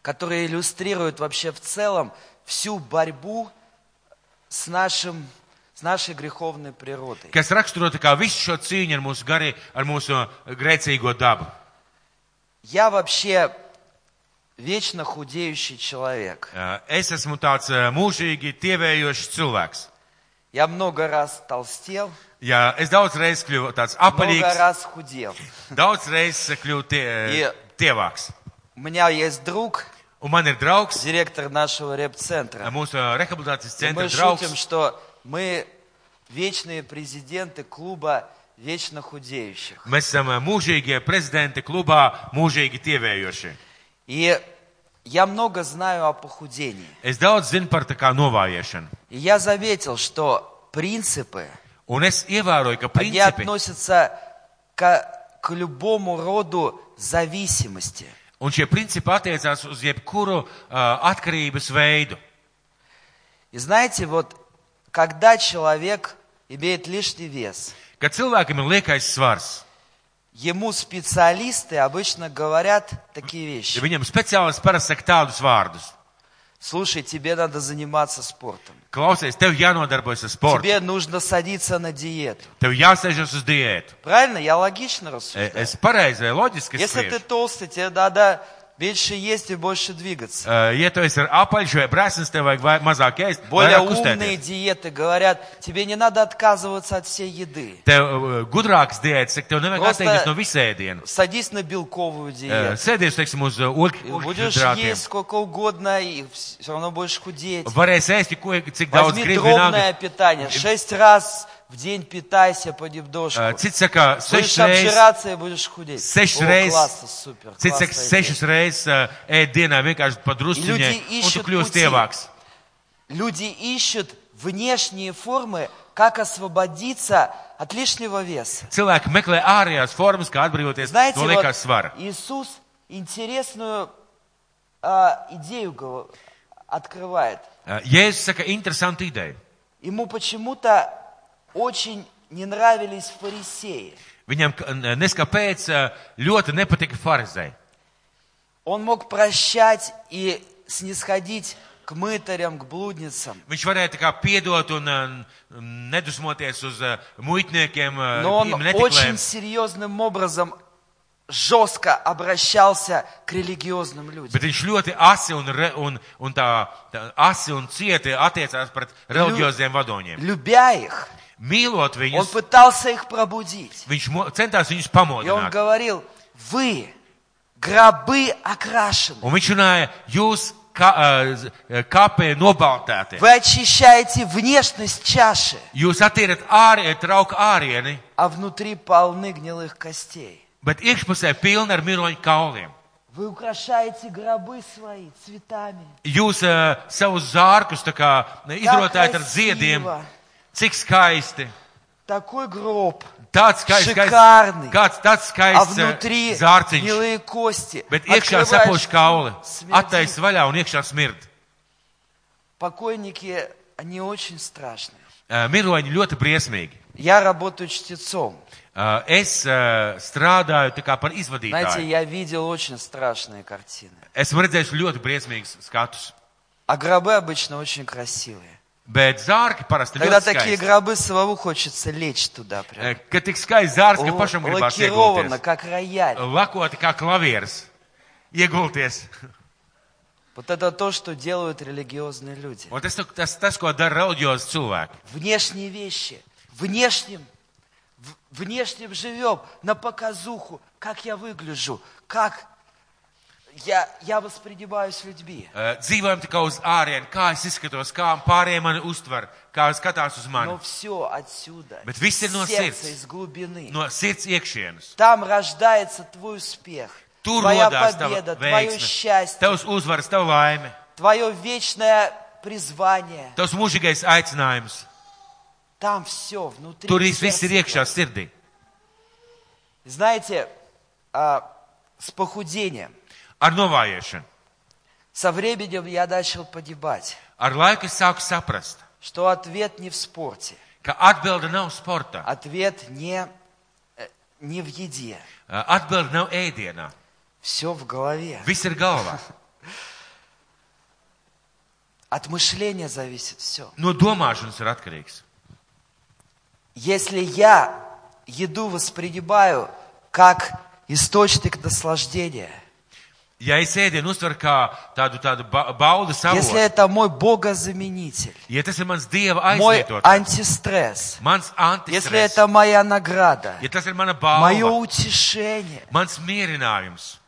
[SPEAKER 2] который иллюстрирует вообще в целом всю борьбу с, нашим, с нашей греховной природой.
[SPEAKER 1] kas raksturo tā kā visu šo cīņu ar mūsu garī, ar mūsu eh, grēcīgo dabu.
[SPEAKER 2] Я вообще вечно худеющий человек.
[SPEAKER 1] Eh, Es esmu tāds eh, mūžīgi tievējošs cilvēks.
[SPEAKER 2] Я много раз толстел,
[SPEAKER 1] Jā, es daudz reizes kļuvu tāds
[SPEAKER 2] много
[SPEAKER 1] apaļīgs,
[SPEAKER 2] раз худел.
[SPEAKER 1] daudz reizes kļuvu tie, uh,
[SPEAKER 2] Jā.
[SPEAKER 1] tievāks.
[SPEAKER 2] У меня есть друг,
[SPEAKER 1] Un man ir draugs,
[SPEAKER 2] директор нашего реп-центра.
[SPEAKER 1] mūsu eh, rehabilitācijas
[SPEAKER 2] И
[SPEAKER 1] centra
[SPEAKER 2] мы шутим,
[SPEAKER 1] draugs.
[SPEAKER 2] что мы вечные президенты клуба вечно худеющих.
[SPEAKER 1] Mēs esam eh, mūžīgie prezidenti klubā, mūžīgi tievējošie.
[SPEAKER 2] И я много знаю о похудении.
[SPEAKER 1] Es daudz zinu par tā kā novājiešanu.
[SPEAKER 2] И я заметил, что принципы,
[SPEAKER 1] Un es ievēroju, ka
[SPEAKER 2] они
[SPEAKER 1] principi,
[SPEAKER 2] относятся к, к любому роду зависимости.
[SPEAKER 1] un šie principi attiecās uz jebkuru uh, atkarības veidu.
[SPEAKER 2] И знаете, вот когда человек имеет лишний вес,
[SPEAKER 1] Kad cilvēkam ir liekais svars,
[SPEAKER 2] ему специалисты обычно говорят такие
[SPEAKER 1] ja
[SPEAKER 2] вещи.
[SPEAKER 1] viņam speciālists parasti saka tādus vārdus.
[SPEAKER 2] Слушай, тебе надо заниматься spортом.
[SPEAKER 1] Klausies, tev jānodarbojas ar sportu,
[SPEAKER 2] Тебе нужно садиться на диету.
[SPEAKER 1] tev jāsēžas uz diētu.
[SPEAKER 2] Правильно? Я логично
[SPEAKER 1] E-
[SPEAKER 2] рассуждаю.
[SPEAKER 1] Es pareizi, loģiski
[SPEAKER 2] Если ты
[SPEAKER 1] saprotu.
[SPEAKER 2] толстый, тебе надо меньше есть и больше двигаться.
[SPEAKER 1] Ja tu esi ar apaļš vai brēsnis, tev vajag vai- mazāk ēst,
[SPEAKER 2] Более
[SPEAKER 1] vairāk kustēties.
[SPEAKER 2] умные диеты говорят, тебе не надо отказываться от всей еды.
[SPEAKER 1] Tev uh, gudrāks diēts, saka, tev nevajag
[SPEAKER 2] Просто-
[SPEAKER 1] atteikties no visēdienas.
[SPEAKER 2] Sadies на белковую диету.
[SPEAKER 1] Sēdies, teiksim, uz uh, ogļ-
[SPEAKER 2] И Будешь есть
[SPEAKER 1] ogļhidrātiem.
[SPEAKER 2] сколько угодно, и все равно будешь худеть.
[SPEAKER 1] Varēs ēst, ko, cik daudz
[SPEAKER 2] Возьми
[SPEAKER 1] gribi
[SPEAKER 2] дробное
[SPEAKER 1] vienalga.
[SPEAKER 2] питание. Шесть раз в день питайся по дебдошку.
[SPEAKER 1] Uh, Cits saka,
[SPEAKER 2] Будешь
[SPEAKER 1] sešas reizes,
[SPEAKER 2] обжираться и будешь худеть.
[SPEAKER 1] sešas
[SPEAKER 2] О,
[SPEAKER 1] reizes-
[SPEAKER 2] классно, супер.
[SPEAKER 1] cits
[SPEAKER 2] классная
[SPEAKER 1] saka,
[SPEAKER 2] идея.
[SPEAKER 1] sešas reizes uh, ēd dienā vienkārši padrusciņai,
[SPEAKER 2] Ļudži
[SPEAKER 1] un tu
[SPEAKER 2] iššķir
[SPEAKER 1] kļūsi
[SPEAKER 2] puci.
[SPEAKER 1] tievāks.
[SPEAKER 2] Люди ищут внешние формы, как освободиться от лишнего веса.
[SPEAKER 1] Cilvēki meklē ārējās formas, kā atbrīvoties
[SPEAKER 2] Знаете,
[SPEAKER 1] no
[SPEAKER 2] вот
[SPEAKER 1] liekās svara.
[SPEAKER 2] Иисус интересную а, идею гов- открывает.
[SPEAKER 1] Uh, Jēzus saka, interesanti ideja.
[SPEAKER 2] Ему почему-то очень не нравились фарисеи.
[SPEAKER 1] Viņam k- n- neskapēc ā, ļoti nepatika farizei.
[SPEAKER 2] Он мог прощать и снисходить к мытарям, к блудницам.
[SPEAKER 1] Viņš varēja tā kā piedot un ā, n- nedusmoties uz ā, muitniekiem, ā,
[SPEAKER 2] Но он
[SPEAKER 1] tiem
[SPEAKER 2] очень
[SPEAKER 1] netiklēm,
[SPEAKER 2] серьезным образом жестко обращался к религиозным людям.
[SPEAKER 1] bet viņš ļoti asi un, re, un, un tā, tā asi un cieti attiecās pret reliģioziem vadoņiem.
[SPEAKER 2] Любя их,
[SPEAKER 1] Mīlot
[SPEAKER 2] он
[SPEAKER 1] viņus,
[SPEAKER 2] пытался их пробудить.
[SPEAKER 1] viņš mo- centās viņus
[SPEAKER 2] И он
[SPEAKER 1] pamodināt.
[SPEAKER 2] говорил, вы гробы окрашены,
[SPEAKER 1] Un viņš runāja, jūs ka, eh, ā, z- kapē nobaltēti,
[SPEAKER 2] вы очищаете внешность чаши,
[SPEAKER 1] jūs attīrat ārē, trauka ārieni,
[SPEAKER 2] а внутри полны гнилых костей.
[SPEAKER 1] bet iekšpusē pilni ar miroņu kauliem.
[SPEAKER 2] Вы украшаете гробы свои цветами.
[SPEAKER 1] jūs uh, savus zārkus tā kā izrotājat ar ziediem.
[SPEAKER 2] красиво.
[SPEAKER 1] Cik skaisti.
[SPEAKER 2] Такой гроб,
[SPEAKER 1] Tāds skaists,
[SPEAKER 2] Šikārni.
[SPEAKER 1] skaists, kāds, tāds
[SPEAKER 2] а
[SPEAKER 1] skaists eh,
[SPEAKER 2] внутри
[SPEAKER 1] zārciņš.
[SPEAKER 2] гнилые кости.
[SPEAKER 1] Bet iekšā
[SPEAKER 2] Открываешь-
[SPEAKER 1] sapoš kauli.
[SPEAKER 2] smirdzi.
[SPEAKER 1] Attais vaļā un iekšā smird.
[SPEAKER 2] Покойники, они очень страшные.
[SPEAKER 1] Eh, Miroņi ļoti briesmīgi.
[SPEAKER 2] Я работаю чтецом.
[SPEAKER 1] Eh, Es eh, strādāju tā kā par
[SPEAKER 2] Знаете,
[SPEAKER 1] izvadītāju.
[SPEAKER 2] я видел очень страшные картины.
[SPEAKER 1] Esmu redzējis ļoti briesmīgus skatus.
[SPEAKER 2] А гробы обычно очень красивые.
[SPEAKER 1] Bet zārki parasti
[SPEAKER 2] Когда
[SPEAKER 1] ļoti
[SPEAKER 2] такие
[SPEAKER 1] skaisti.
[SPEAKER 2] гробы самому хочется лечь туда прям.
[SPEAKER 1] Eh, Kad tik skaists zārs, ka
[SPEAKER 2] Л-
[SPEAKER 1] pašam gribās
[SPEAKER 2] Лакировано,
[SPEAKER 1] iegulties.
[SPEAKER 2] как
[SPEAKER 1] Э,
[SPEAKER 2] рояль.
[SPEAKER 1] Lakoti kā klavieres. Iegulties.
[SPEAKER 2] Вот это то, что делают религиозные люди.
[SPEAKER 1] Un tas, tas, tas, ko dara reliģiozi cilvēki.
[SPEAKER 2] Внешние вещи. Внешним. в- Внешним живем на показуху, как я выгляжу, как Я, я воспринимаюсь людьми.
[SPEAKER 1] Uh, dzīvojam tikai uz ārienu, kā es izskatos, kā pārējie mani uztver, kā skatās uz
[SPEAKER 2] Но
[SPEAKER 1] mani.
[SPEAKER 2] все отсюда.
[SPEAKER 1] Bet
[SPEAKER 2] из
[SPEAKER 1] весь сильно
[SPEAKER 2] сердца,
[SPEAKER 1] сердце.
[SPEAKER 2] из глубины.
[SPEAKER 1] No sirds iekšienes.
[SPEAKER 2] Там рождается твой успех.
[SPEAKER 1] Tur
[SPEAKER 2] твоя
[SPEAKER 1] rodās tava
[SPEAKER 2] победа, твое
[SPEAKER 1] veiksme,
[SPEAKER 2] счастье,
[SPEAKER 1] tavs uzvaras, tava laime,
[SPEAKER 2] твое вечное призвание.
[SPEAKER 1] tavs mūžīgais aicinājums.
[SPEAKER 2] Там все внутри.
[SPEAKER 1] Tur
[SPEAKER 2] в
[SPEAKER 1] viss viss
[SPEAKER 2] сердце
[SPEAKER 1] ir iekšā
[SPEAKER 2] твоем.
[SPEAKER 1] sirdī.
[SPEAKER 2] Знаете, а, с похудением,
[SPEAKER 1] Ar novājiešanu.
[SPEAKER 2] со временем я начал погибать,
[SPEAKER 1] Ar laiku es sāku saprast,
[SPEAKER 2] что ответ не в спорте,
[SPEAKER 1] ka atbilde nav sportā,
[SPEAKER 2] ответ не, э, не в еде,
[SPEAKER 1] E, atbilde nav ēdienā.
[SPEAKER 2] все в голове.
[SPEAKER 1] Viss ir galvā.
[SPEAKER 2] От мышления зависит все.
[SPEAKER 1] No domāšanas ir atkarīgs.
[SPEAKER 2] Если я еду воспринимаю как источник наслаждения,
[SPEAKER 1] Ja es ēdienu uztveru kā tādu, tādu ba baudas avotu,
[SPEAKER 2] если это мой богозаменитель,
[SPEAKER 1] ja tas ir mans dieva
[SPEAKER 2] мой
[SPEAKER 1] aizvietot,
[SPEAKER 2] антистресс,
[SPEAKER 1] mans
[SPEAKER 2] если
[SPEAKER 1] antistress,
[SPEAKER 2] это моя награда,
[SPEAKER 1] ja tas ir mana
[SPEAKER 2] мое
[SPEAKER 1] balva,
[SPEAKER 2] утешение,
[SPEAKER 1] mans mierinājums,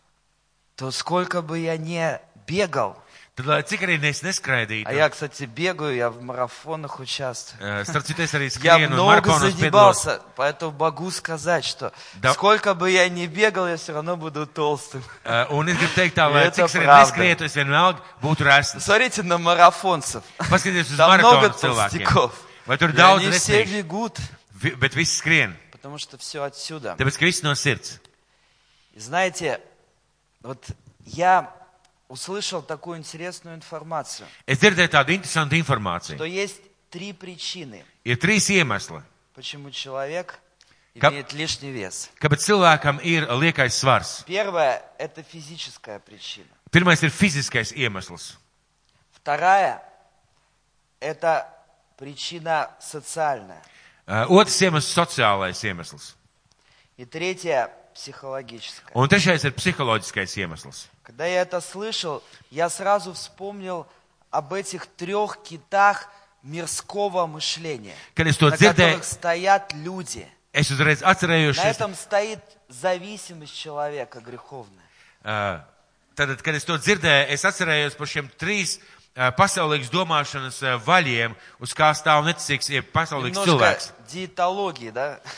[SPEAKER 2] то сколько бы я не бегал,
[SPEAKER 1] tad lai cik arī es
[SPEAKER 2] а
[SPEAKER 1] neskraidītu,
[SPEAKER 2] я, кстати, бегаю, я в марафонах участвую.
[SPEAKER 1] eh, starp citu es arī
[SPEAKER 2] <laughs> Я
[SPEAKER 1] skrienu un
[SPEAKER 2] много
[SPEAKER 1] maratonos piedalos.
[SPEAKER 2] задебался, поэтому могу сказать, что
[SPEAKER 1] Да.
[SPEAKER 2] сколько бы я ни бегал, я все равно буду толстым.
[SPEAKER 1] Eh, Un es gribu teikt tā, lai
[SPEAKER 2] Это
[SPEAKER 1] cik es arī
[SPEAKER 2] правда.
[SPEAKER 1] neskrietu, es vienalga būtu resns.
[SPEAKER 2] Смотрите на марафонцев.
[SPEAKER 1] Paskatieties uz
[SPEAKER 2] Там много
[SPEAKER 1] maratonu cilvēkiem.
[SPEAKER 2] толстяков.
[SPEAKER 1] Vai tur
[SPEAKER 2] И
[SPEAKER 1] daudz
[SPEAKER 2] они все
[SPEAKER 1] resnīgi,
[SPEAKER 2] бегут,
[SPEAKER 1] Vi- bet viss skrien.
[SPEAKER 2] потому что все отсюда.
[SPEAKER 1] Tāpēc, ka viss no sirds.
[SPEAKER 2] И знаете, вот я услышал такую интересную информацию,
[SPEAKER 1] Es dzirdēju tādu interesantu
[SPEAKER 2] что
[SPEAKER 1] informāciju.
[SPEAKER 2] есть три причины,
[SPEAKER 1] Ir trīs iemesli,
[SPEAKER 2] почему человек
[SPEAKER 1] Как-
[SPEAKER 2] имеет лишний вес.
[SPEAKER 1] kāpēc cilvēkam ir liekais svars.
[SPEAKER 2] Первое – это физическая причина.
[SPEAKER 1] Pirmais ir fiziskais iemesls.
[SPEAKER 2] Вторая – это причина социальная.
[SPEAKER 1] Uh, Otrs iemesls - sociālais iemesls.
[SPEAKER 2] И третья – психологическая.
[SPEAKER 1] Un trešais ir psiholoģiskais iemesls.
[SPEAKER 2] Когда я это слышал, я сразу вспомнил об этих трех китах мирского мышления,
[SPEAKER 1] Kad es to
[SPEAKER 2] на которых
[SPEAKER 1] dzirdēju,
[SPEAKER 2] стоят люди.
[SPEAKER 1] es uzreiz
[SPEAKER 2] На
[SPEAKER 1] atcerējos,
[SPEAKER 2] этом стоит зависимость человека греховная.
[SPEAKER 1] uh, tad, kad es to dzirdēju, es atcerējos par šiem trīs uh, pasaulīgas domāšanas uh, vaļiem, uz kā stāv necīgs, ir pasaulīgs
[SPEAKER 2] Немножко
[SPEAKER 1] cilvēks.
[SPEAKER 2] диетологии, да? <laughs>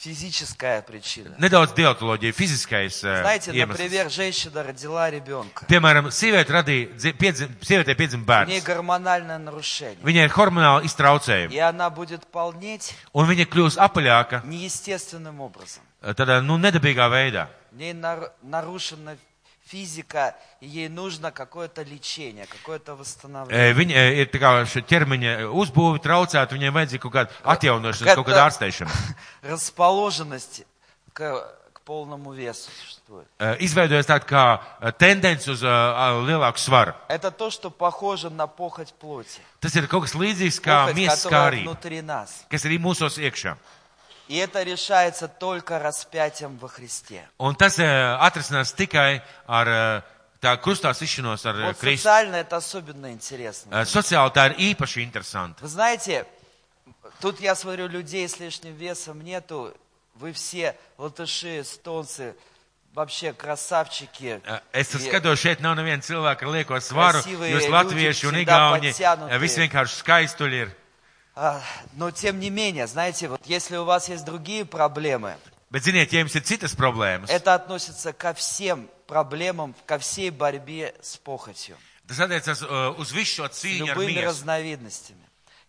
[SPEAKER 2] Физическая причина.
[SPEAKER 1] Nedaudz dietoloģija, fiziskais uh,
[SPEAKER 2] Знаете,
[SPEAKER 1] iemesls.
[SPEAKER 2] например, женщина родила ребенка.
[SPEAKER 1] Piemēram, sieviete radīja, dzi- piedzim- sievietei piedzima
[SPEAKER 2] У ней
[SPEAKER 1] bērns.
[SPEAKER 2] гормональное нарушение.
[SPEAKER 1] Viņai ir hormonāli iztraucējumi,
[SPEAKER 2] И она будет полнеть
[SPEAKER 1] un viņa kļūst apaļāka
[SPEAKER 2] неестественным образом.
[SPEAKER 1] tādā, nu, nedabīgā veidā.
[SPEAKER 2] В ней нар- нарушена физика, и ей нужно какое-то лечение, какое-то восстановление.
[SPEAKER 1] E, Viņa e, ir tā kā šī ķermeņa eh, uzbūve traucēta, viņai vajadzīga kaut kāda atjaunošana,
[SPEAKER 2] Kad-
[SPEAKER 1] kaut kāda ārstēšana.
[SPEAKER 2] Расположенность к, к полному весу существует.
[SPEAKER 1] E, Izveidojas tāda kā e, tendence uz e, a, lielāku svaru.
[SPEAKER 2] Это то, что похоже на похоть плоти.
[SPEAKER 1] Tas ir kaut kas līdzīgs kā
[SPEAKER 2] Похоть,
[SPEAKER 1] miesas
[SPEAKER 2] которая
[SPEAKER 1] kārība,
[SPEAKER 2] внутри нас.
[SPEAKER 1] kas ir mūsos iekšā.
[SPEAKER 2] И это решается только распятием во Христе.
[SPEAKER 1] Un tas e, atrisinās tikai ar e, tā krustās izšanos ar e,
[SPEAKER 2] Вот
[SPEAKER 1] Kristu.
[SPEAKER 2] социально это особенно интересно.
[SPEAKER 1] E, Sociāli tā ir īpaši interesanti.
[SPEAKER 2] Вы знаете, тут я смотрю, людей с лишним весом нету. Вы все латыши, эстонцы, вообще красавчики.
[SPEAKER 1] Eh, Es
[SPEAKER 2] И
[SPEAKER 1] skatos, šeit nav neviena cilvēka ar lieko svaru.
[SPEAKER 2] Krasīvie
[SPEAKER 1] Jūs
[SPEAKER 2] ļuģi
[SPEAKER 1] latvieši un
[SPEAKER 2] всегда
[SPEAKER 1] igauni,
[SPEAKER 2] подтянутые.
[SPEAKER 1] visi vienkārši skaistuļi ir.
[SPEAKER 2] А, Но тем не менее, знаете, вот если у вас есть другие проблемы,
[SPEAKER 1] Bet ziniet, ja jums ir citas problēmas,
[SPEAKER 2] это относится ко всем проблемам, ко всей борьбе с похотью,
[SPEAKER 1] tas attiecas uh, uz visu šo
[SPEAKER 2] с
[SPEAKER 1] cīņu ar
[SPEAKER 2] любыми
[SPEAKER 1] miesu.
[SPEAKER 2] разновидностями.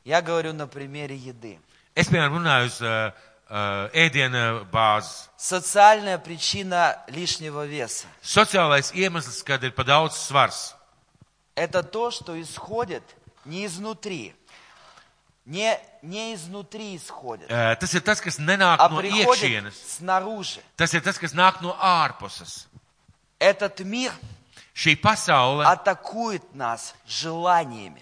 [SPEAKER 2] Я говорю на примере еды.
[SPEAKER 1] Es, piemēram, runāju uz uh, uh, ēdiena bāzes.
[SPEAKER 2] Социальная причина лишнего веса
[SPEAKER 1] Sociālais iemesls, kad ir pa daudz svars,
[SPEAKER 2] – это то, что исходит не изнутри, не, не изнутри исходит,
[SPEAKER 1] uh, tas ir tas, kas nenāk
[SPEAKER 2] а
[SPEAKER 1] no
[SPEAKER 2] приходит
[SPEAKER 1] iekšienes.
[SPEAKER 2] снаружи.
[SPEAKER 1] Tas ir tas, kas nāk no ārpuses.
[SPEAKER 2] Этот мир
[SPEAKER 1] Šī pasaule uh,
[SPEAKER 2] атакует нас желаниями.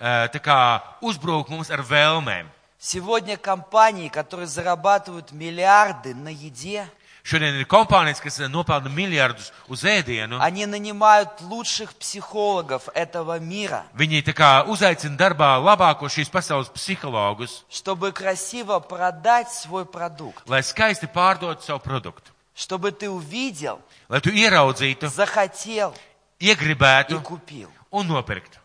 [SPEAKER 1] tā kā uzbrūk mums ar vēlmēm.
[SPEAKER 2] Сегодня компании, которые зарабатывают миллиарды на еде,
[SPEAKER 1] Šodien ir kompānijas, kas eh, nopelna miljardus uz ēdienu.
[SPEAKER 2] они нанимают лучших психологов этого мира,
[SPEAKER 1] Viņi tā kā uzaicina darbā labāko šīs pasaules psihologus,
[SPEAKER 2] чтобы красиво продать свой продукт.
[SPEAKER 1] lai skaisti pārdotu savu produktu.
[SPEAKER 2] чтобы ты увидел,
[SPEAKER 1] lai tu ieraudzītu,
[SPEAKER 2] захотел и
[SPEAKER 1] iegribētu
[SPEAKER 2] купил.
[SPEAKER 1] un nopirktu.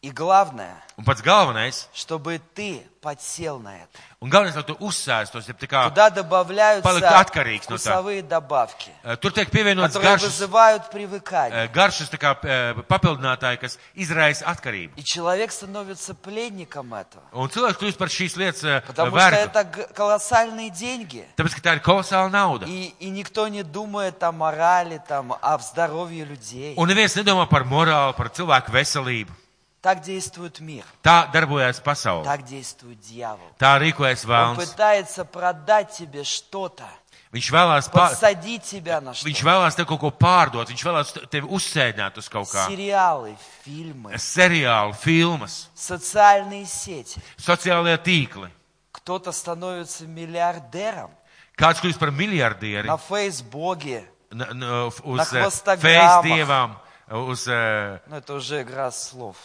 [SPEAKER 2] И главное,
[SPEAKER 1] Un pats galvenais,
[SPEAKER 2] чтобы ты подсел на это.
[SPEAKER 1] un galvenais, lai tu uzsēstos, ja tā kā
[SPEAKER 2] Туда добавляются
[SPEAKER 1] Полыкаткарикс, А, ну, да.
[SPEAKER 2] вкусовые добавки,
[SPEAKER 1] eh, tur tiek pievienots
[SPEAKER 2] которые
[SPEAKER 1] garšas,
[SPEAKER 2] вызывают
[SPEAKER 1] eh,
[SPEAKER 2] привыкание.
[SPEAKER 1] garšas tā kā, eh, papildinātāji, kas izraisa atkarību.
[SPEAKER 2] И человек становится пленником этого.
[SPEAKER 1] Un cilvēks kļūst par šīs lietas eh,
[SPEAKER 2] Потому что
[SPEAKER 1] vērtu,
[SPEAKER 2] это г- колоссальные деньги.
[SPEAKER 1] tāpēc, ka tā ir kolosāla nauda.
[SPEAKER 2] И, и никто не думает о морали, там, о здоровье людей.
[SPEAKER 1] Un neviens nedomā par morāli, par cilvēku veselību.
[SPEAKER 2] Так действует мир,
[SPEAKER 1] Tā darbojas pasaule.
[SPEAKER 2] так действует дьявол.
[SPEAKER 1] Tā rīkojas
[SPEAKER 2] Он
[SPEAKER 1] vēlams.
[SPEAKER 2] пытается продать тебе что-то,
[SPEAKER 1] Viņš vēlās, pa...
[SPEAKER 2] подсадить тебя на
[SPEAKER 1] viņš
[SPEAKER 2] что-то.
[SPEAKER 1] vēlās tev kaut ko pārdot, viņš vēlās te- tevi uzsēdināt uz kaut kā.
[SPEAKER 2] Сериалы,
[SPEAKER 1] Э,
[SPEAKER 2] фильмы,
[SPEAKER 1] Seriāli, filmas,
[SPEAKER 2] социальные сети.
[SPEAKER 1] sociālajie tīkli.
[SPEAKER 2] Кто-то становится миллиардером
[SPEAKER 1] Kāds kļūst par miljardieri
[SPEAKER 2] на Фейсбуке.
[SPEAKER 1] n- n- uz eh,
[SPEAKER 2] Na hvostogramah.
[SPEAKER 1] Facebookam, uz eh,
[SPEAKER 2] Ну, это уже игра слов.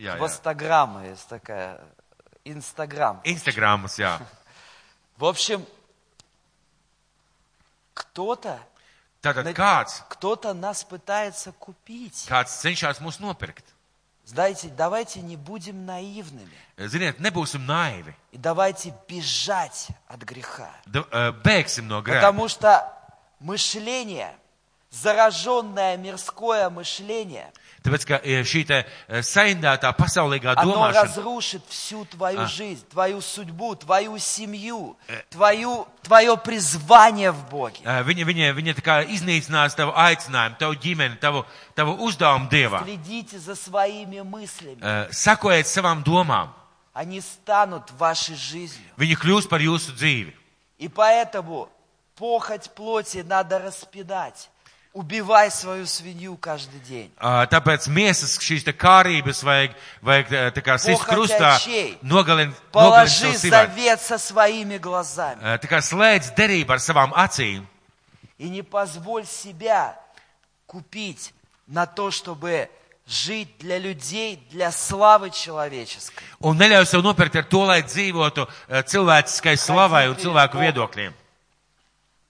[SPEAKER 1] jā, jā.
[SPEAKER 2] Востаграмма есть такая. Инстаграм.
[SPEAKER 1] Instagramus. Jā.
[SPEAKER 2] В общем, кто-то
[SPEAKER 1] Tātad
[SPEAKER 2] Ne-
[SPEAKER 1] kāds,
[SPEAKER 2] кто-то нас пытается купить.
[SPEAKER 1] kāds cenšas mūs nopirkt.
[SPEAKER 2] Знаете, давайте не будем наивными.
[SPEAKER 1] Ziniet, nebūsim naivi.
[SPEAKER 2] И давайте бежать от греха.
[SPEAKER 1] Da- eh, Bēgsim no grēka.
[SPEAKER 2] Потому что мышление, зараженное мирское мышление,
[SPEAKER 1] Tāpēc, ka eh, šī te, eh, saindētā pasaulīgā
[SPEAKER 2] оно
[SPEAKER 1] domāšana,
[SPEAKER 2] разрушит всю твою жизнь, твою судьбу, твою семью, твою, твое призвание в Боге.
[SPEAKER 1] eh, viņa, viņa, viņa tā kā iznīcinās tavu aicinājumu, tavu ģimeni, tavu, tavu uzdevumu Dievā.
[SPEAKER 2] Следите за своими мыслями.
[SPEAKER 1] Eh, Sakojiet savām domām,
[SPEAKER 2] Они станут вашей жизнью.
[SPEAKER 1] viņi kļūs par jūsu dzīvi.
[SPEAKER 2] И поэтому похоть плоти надо распинать. Убивай свою свинью каждый день.
[SPEAKER 1] Eh, Tāpēc miesas šīs te kārības vajag, vajag eh, tā kā sist
[SPEAKER 2] Pohaķai
[SPEAKER 1] krustā,
[SPEAKER 2] šeit.
[SPEAKER 1] nogalin, nogalin
[SPEAKER 2] Положи
[SPEAKER 1] savu sivētu.
[SPEAKER 2] завет со своими глазами.
[SPEAKER 1] Eh, Tā kā slēdz derību ar savām acīm
[SPEAKER 2] И не позволь себя купить на то, чтобы жить для людей, для славы человеческой.
[SPEAKER 1] un neļauj sev nopirkt ar to, lai dzīvotu eh, cilvēciskai slavai un
[SPEAKER 2] Kaķītis,
[SPEAKER 1] cilvēku
[SPEAKER 2] Bogu.
[SPEAKER 1] viedokļiem.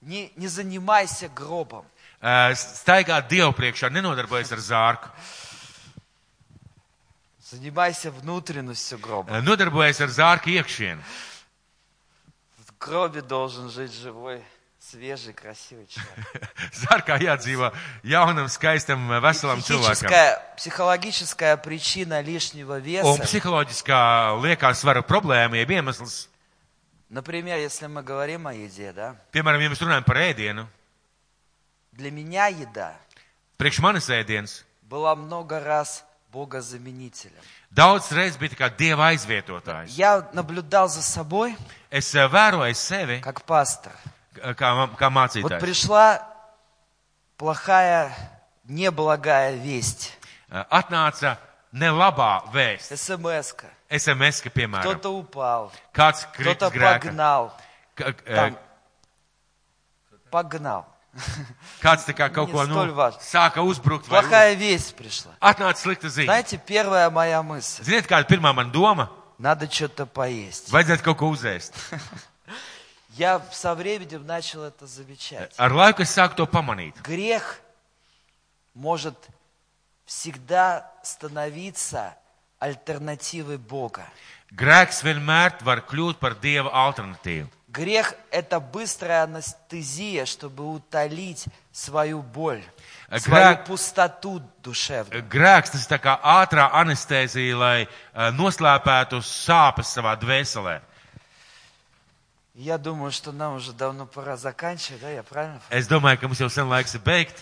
[SPEAKER 2] Не, не занимайся гробом.
[SPEAKER 1] Eh, Staigāt Dievu priekšā, nenodarbojas ar zārku.
[SPEAKER 2] Занимайся внутренностью гроба.
[SPEAKER 1] nodarbojas ar zārku iekšienu. <laughs>
[SPEAKER 2] В гробе должен жить живой, свежий, красивый человек.
[SPEAKER 1] Zārkā jādzīvo jaunam, skaistam, veselam cilvēkam.
[SPEAKER 2] Психическая, психологическая причина лишнего
[SPEAKER 1] Un
[SPEAKER 2] веса.
[SPEAKER 1] psiholoģiskā liekā svara problēma, ja iemesls,
[SPEAKER 2] Например, если мы говорим о еде, да?
[SPEAKER 1] piemēram, ja mēs runājam par ēdienu,
[SPEAKER 2] Для меня еда
[SPEAKER 1] priekš manis ēdienas
[SPEAKER 2] была много раз богозаменителем.
[SPEAKER 1] daudz reiz bija tā kā dieva aizvietotājs.
[SPEAKER 2] Я наблюдал за собой
[SPEAKER 1] Es eh, vēroju sevi
[SPEAKER 2] как пастор.
[SPEAKER 1] eh, kā, ma- kā
[SPEAKER 2] Вот
[SPEAKER 1] mācītājs.
[SPEAKER 2] пришла плохая, неблагая весть.
[SPEAKER 1] Eh, Atnāca nelabā vēsts,
[SPEAKER 2] смс
[SPEAKER 1] SMS, ka, piemēram,
[SPEAKER 2] Кто-то упал,
[SPEAKER 1] kāds
[SPEAKER 2] кто-то
[SPEAKER 1] kritis grēka,
[SPEAKER 2] погнал.
[SPEAKER 1] ka, eh,
[SPEAKER 2] Там. Погнал.
[SPEAKER 1] kāds tā kā kaut ko
[SPEAKER 2] Yes,
[SPEAKER 1] nu,
[SPEAKER 2] toļ vārds.
[SPEAKER 1] sāka uzbrukt vai
[SPEAKER 2] Плохая весть пришла.
[SPEAKER 1] atnāca slikta ziņa.
[SPEAKER 2] Знаете, первая моя мысль.
[SPEAKER 1] Ziniet, kāda ir pirmā mana doma?
[SPEAKER 2] Надо что-то поесть.
[SPEAKER 1] Vajadzētu kaut ko uzēst.
[SPEAKER 2] Я со временем начал это замечать.
[SPEAKER 1] Ar laiku es sāku to pamanīt.
[SPEAKER 2] Грех может всегда становиться альтернативой Бога.
[SPEAKER 1] Grēks vienmēr var kļūt par dieva alternatīvu.
[SPEAKER 2] Грех – это быстрая анестезия, чтобы утолить свою боль,
[SPEAKER 1] А
[SPEAKER 2] свою
[SPEAKER 1] грех-
[SPEAKER 2] пустоту душевную.
[SPEAKER 1] Grēks tas ir tā kā ātrā anestēzija, lai eh, noslēpētu sāpes savā dvēselē.
[SPEAKER 2] Я думаю, что нам уже давно пора заканчивать, да, я правильно? ф-
[SPEAKER 1] Es domāju, ka mums jau sen laiks ir beigt.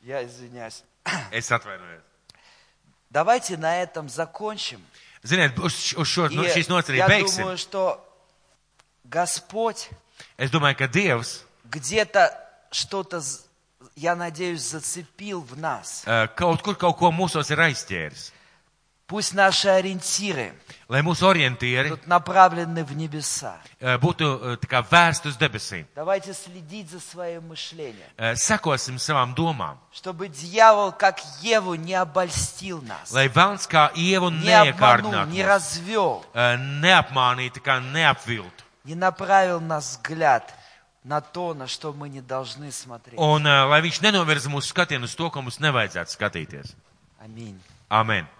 [SPEAKER 2] Я извиняюсь.
[SPEAKER 1] Es atvainojos.
[SPEAKER 2] Давайте на этом закончим.
[SPEAKER 1] Ziniet, uz, š- uz šo,
[SPEAKER 2] И
[SPEAKER 1] no, šīs nocerības
[SPEAKER 2] я
[SPEAKER 1] beigsim.
[SPEAKER 2] думаю, что Господь
[SPEAKER 1] Es domāju, ka Dievs
[SPEAKER 2] где-то что-то, з- я надеюсь, зацепил в нас.
[SPEAKER 1] eh, kaut kur kaut ko mūsos ir aizķēris.
[SPEAKER 2] Пусть наши ориентиры
[SPEAKER 1] Lai mūsu orientieri
[SPEAKER 2] тут направлены в небеса.
[SPEAKER 1] eh, būtu eh, tā kā vērsti uz debesīm.
[SPEAKER 2] Давайте следить за своим мышлением,
[SPEAKER 1] Eh, Sekosim savām domām.
[SPEAKER 2] чтобы дьявол, как Еву, не обольстил нас,
[SPEAKER 1] Lai vēlns kā ievu
[SPEAKER 2] не обманул,
[SPEAKER 1] neiekārdinātu,
[SPEAKER 2] не
[SPEAKER 1] mūs,
[SPEAKER 2] развел,
[SPEAKER 1] eh, neapmānītu, kā neapviltu,
[SPEAKER 2] не направил нас взгляд на то, на что мы не должны смотреть.
[SPEAKER 1] eh, Un, ā, lai viņš nenovirza mūsu skatienu uz to, ko mums nevajadzētu skatīties.
[SPEAKER 2] Аминь.
[SPEAKER 1] Amen!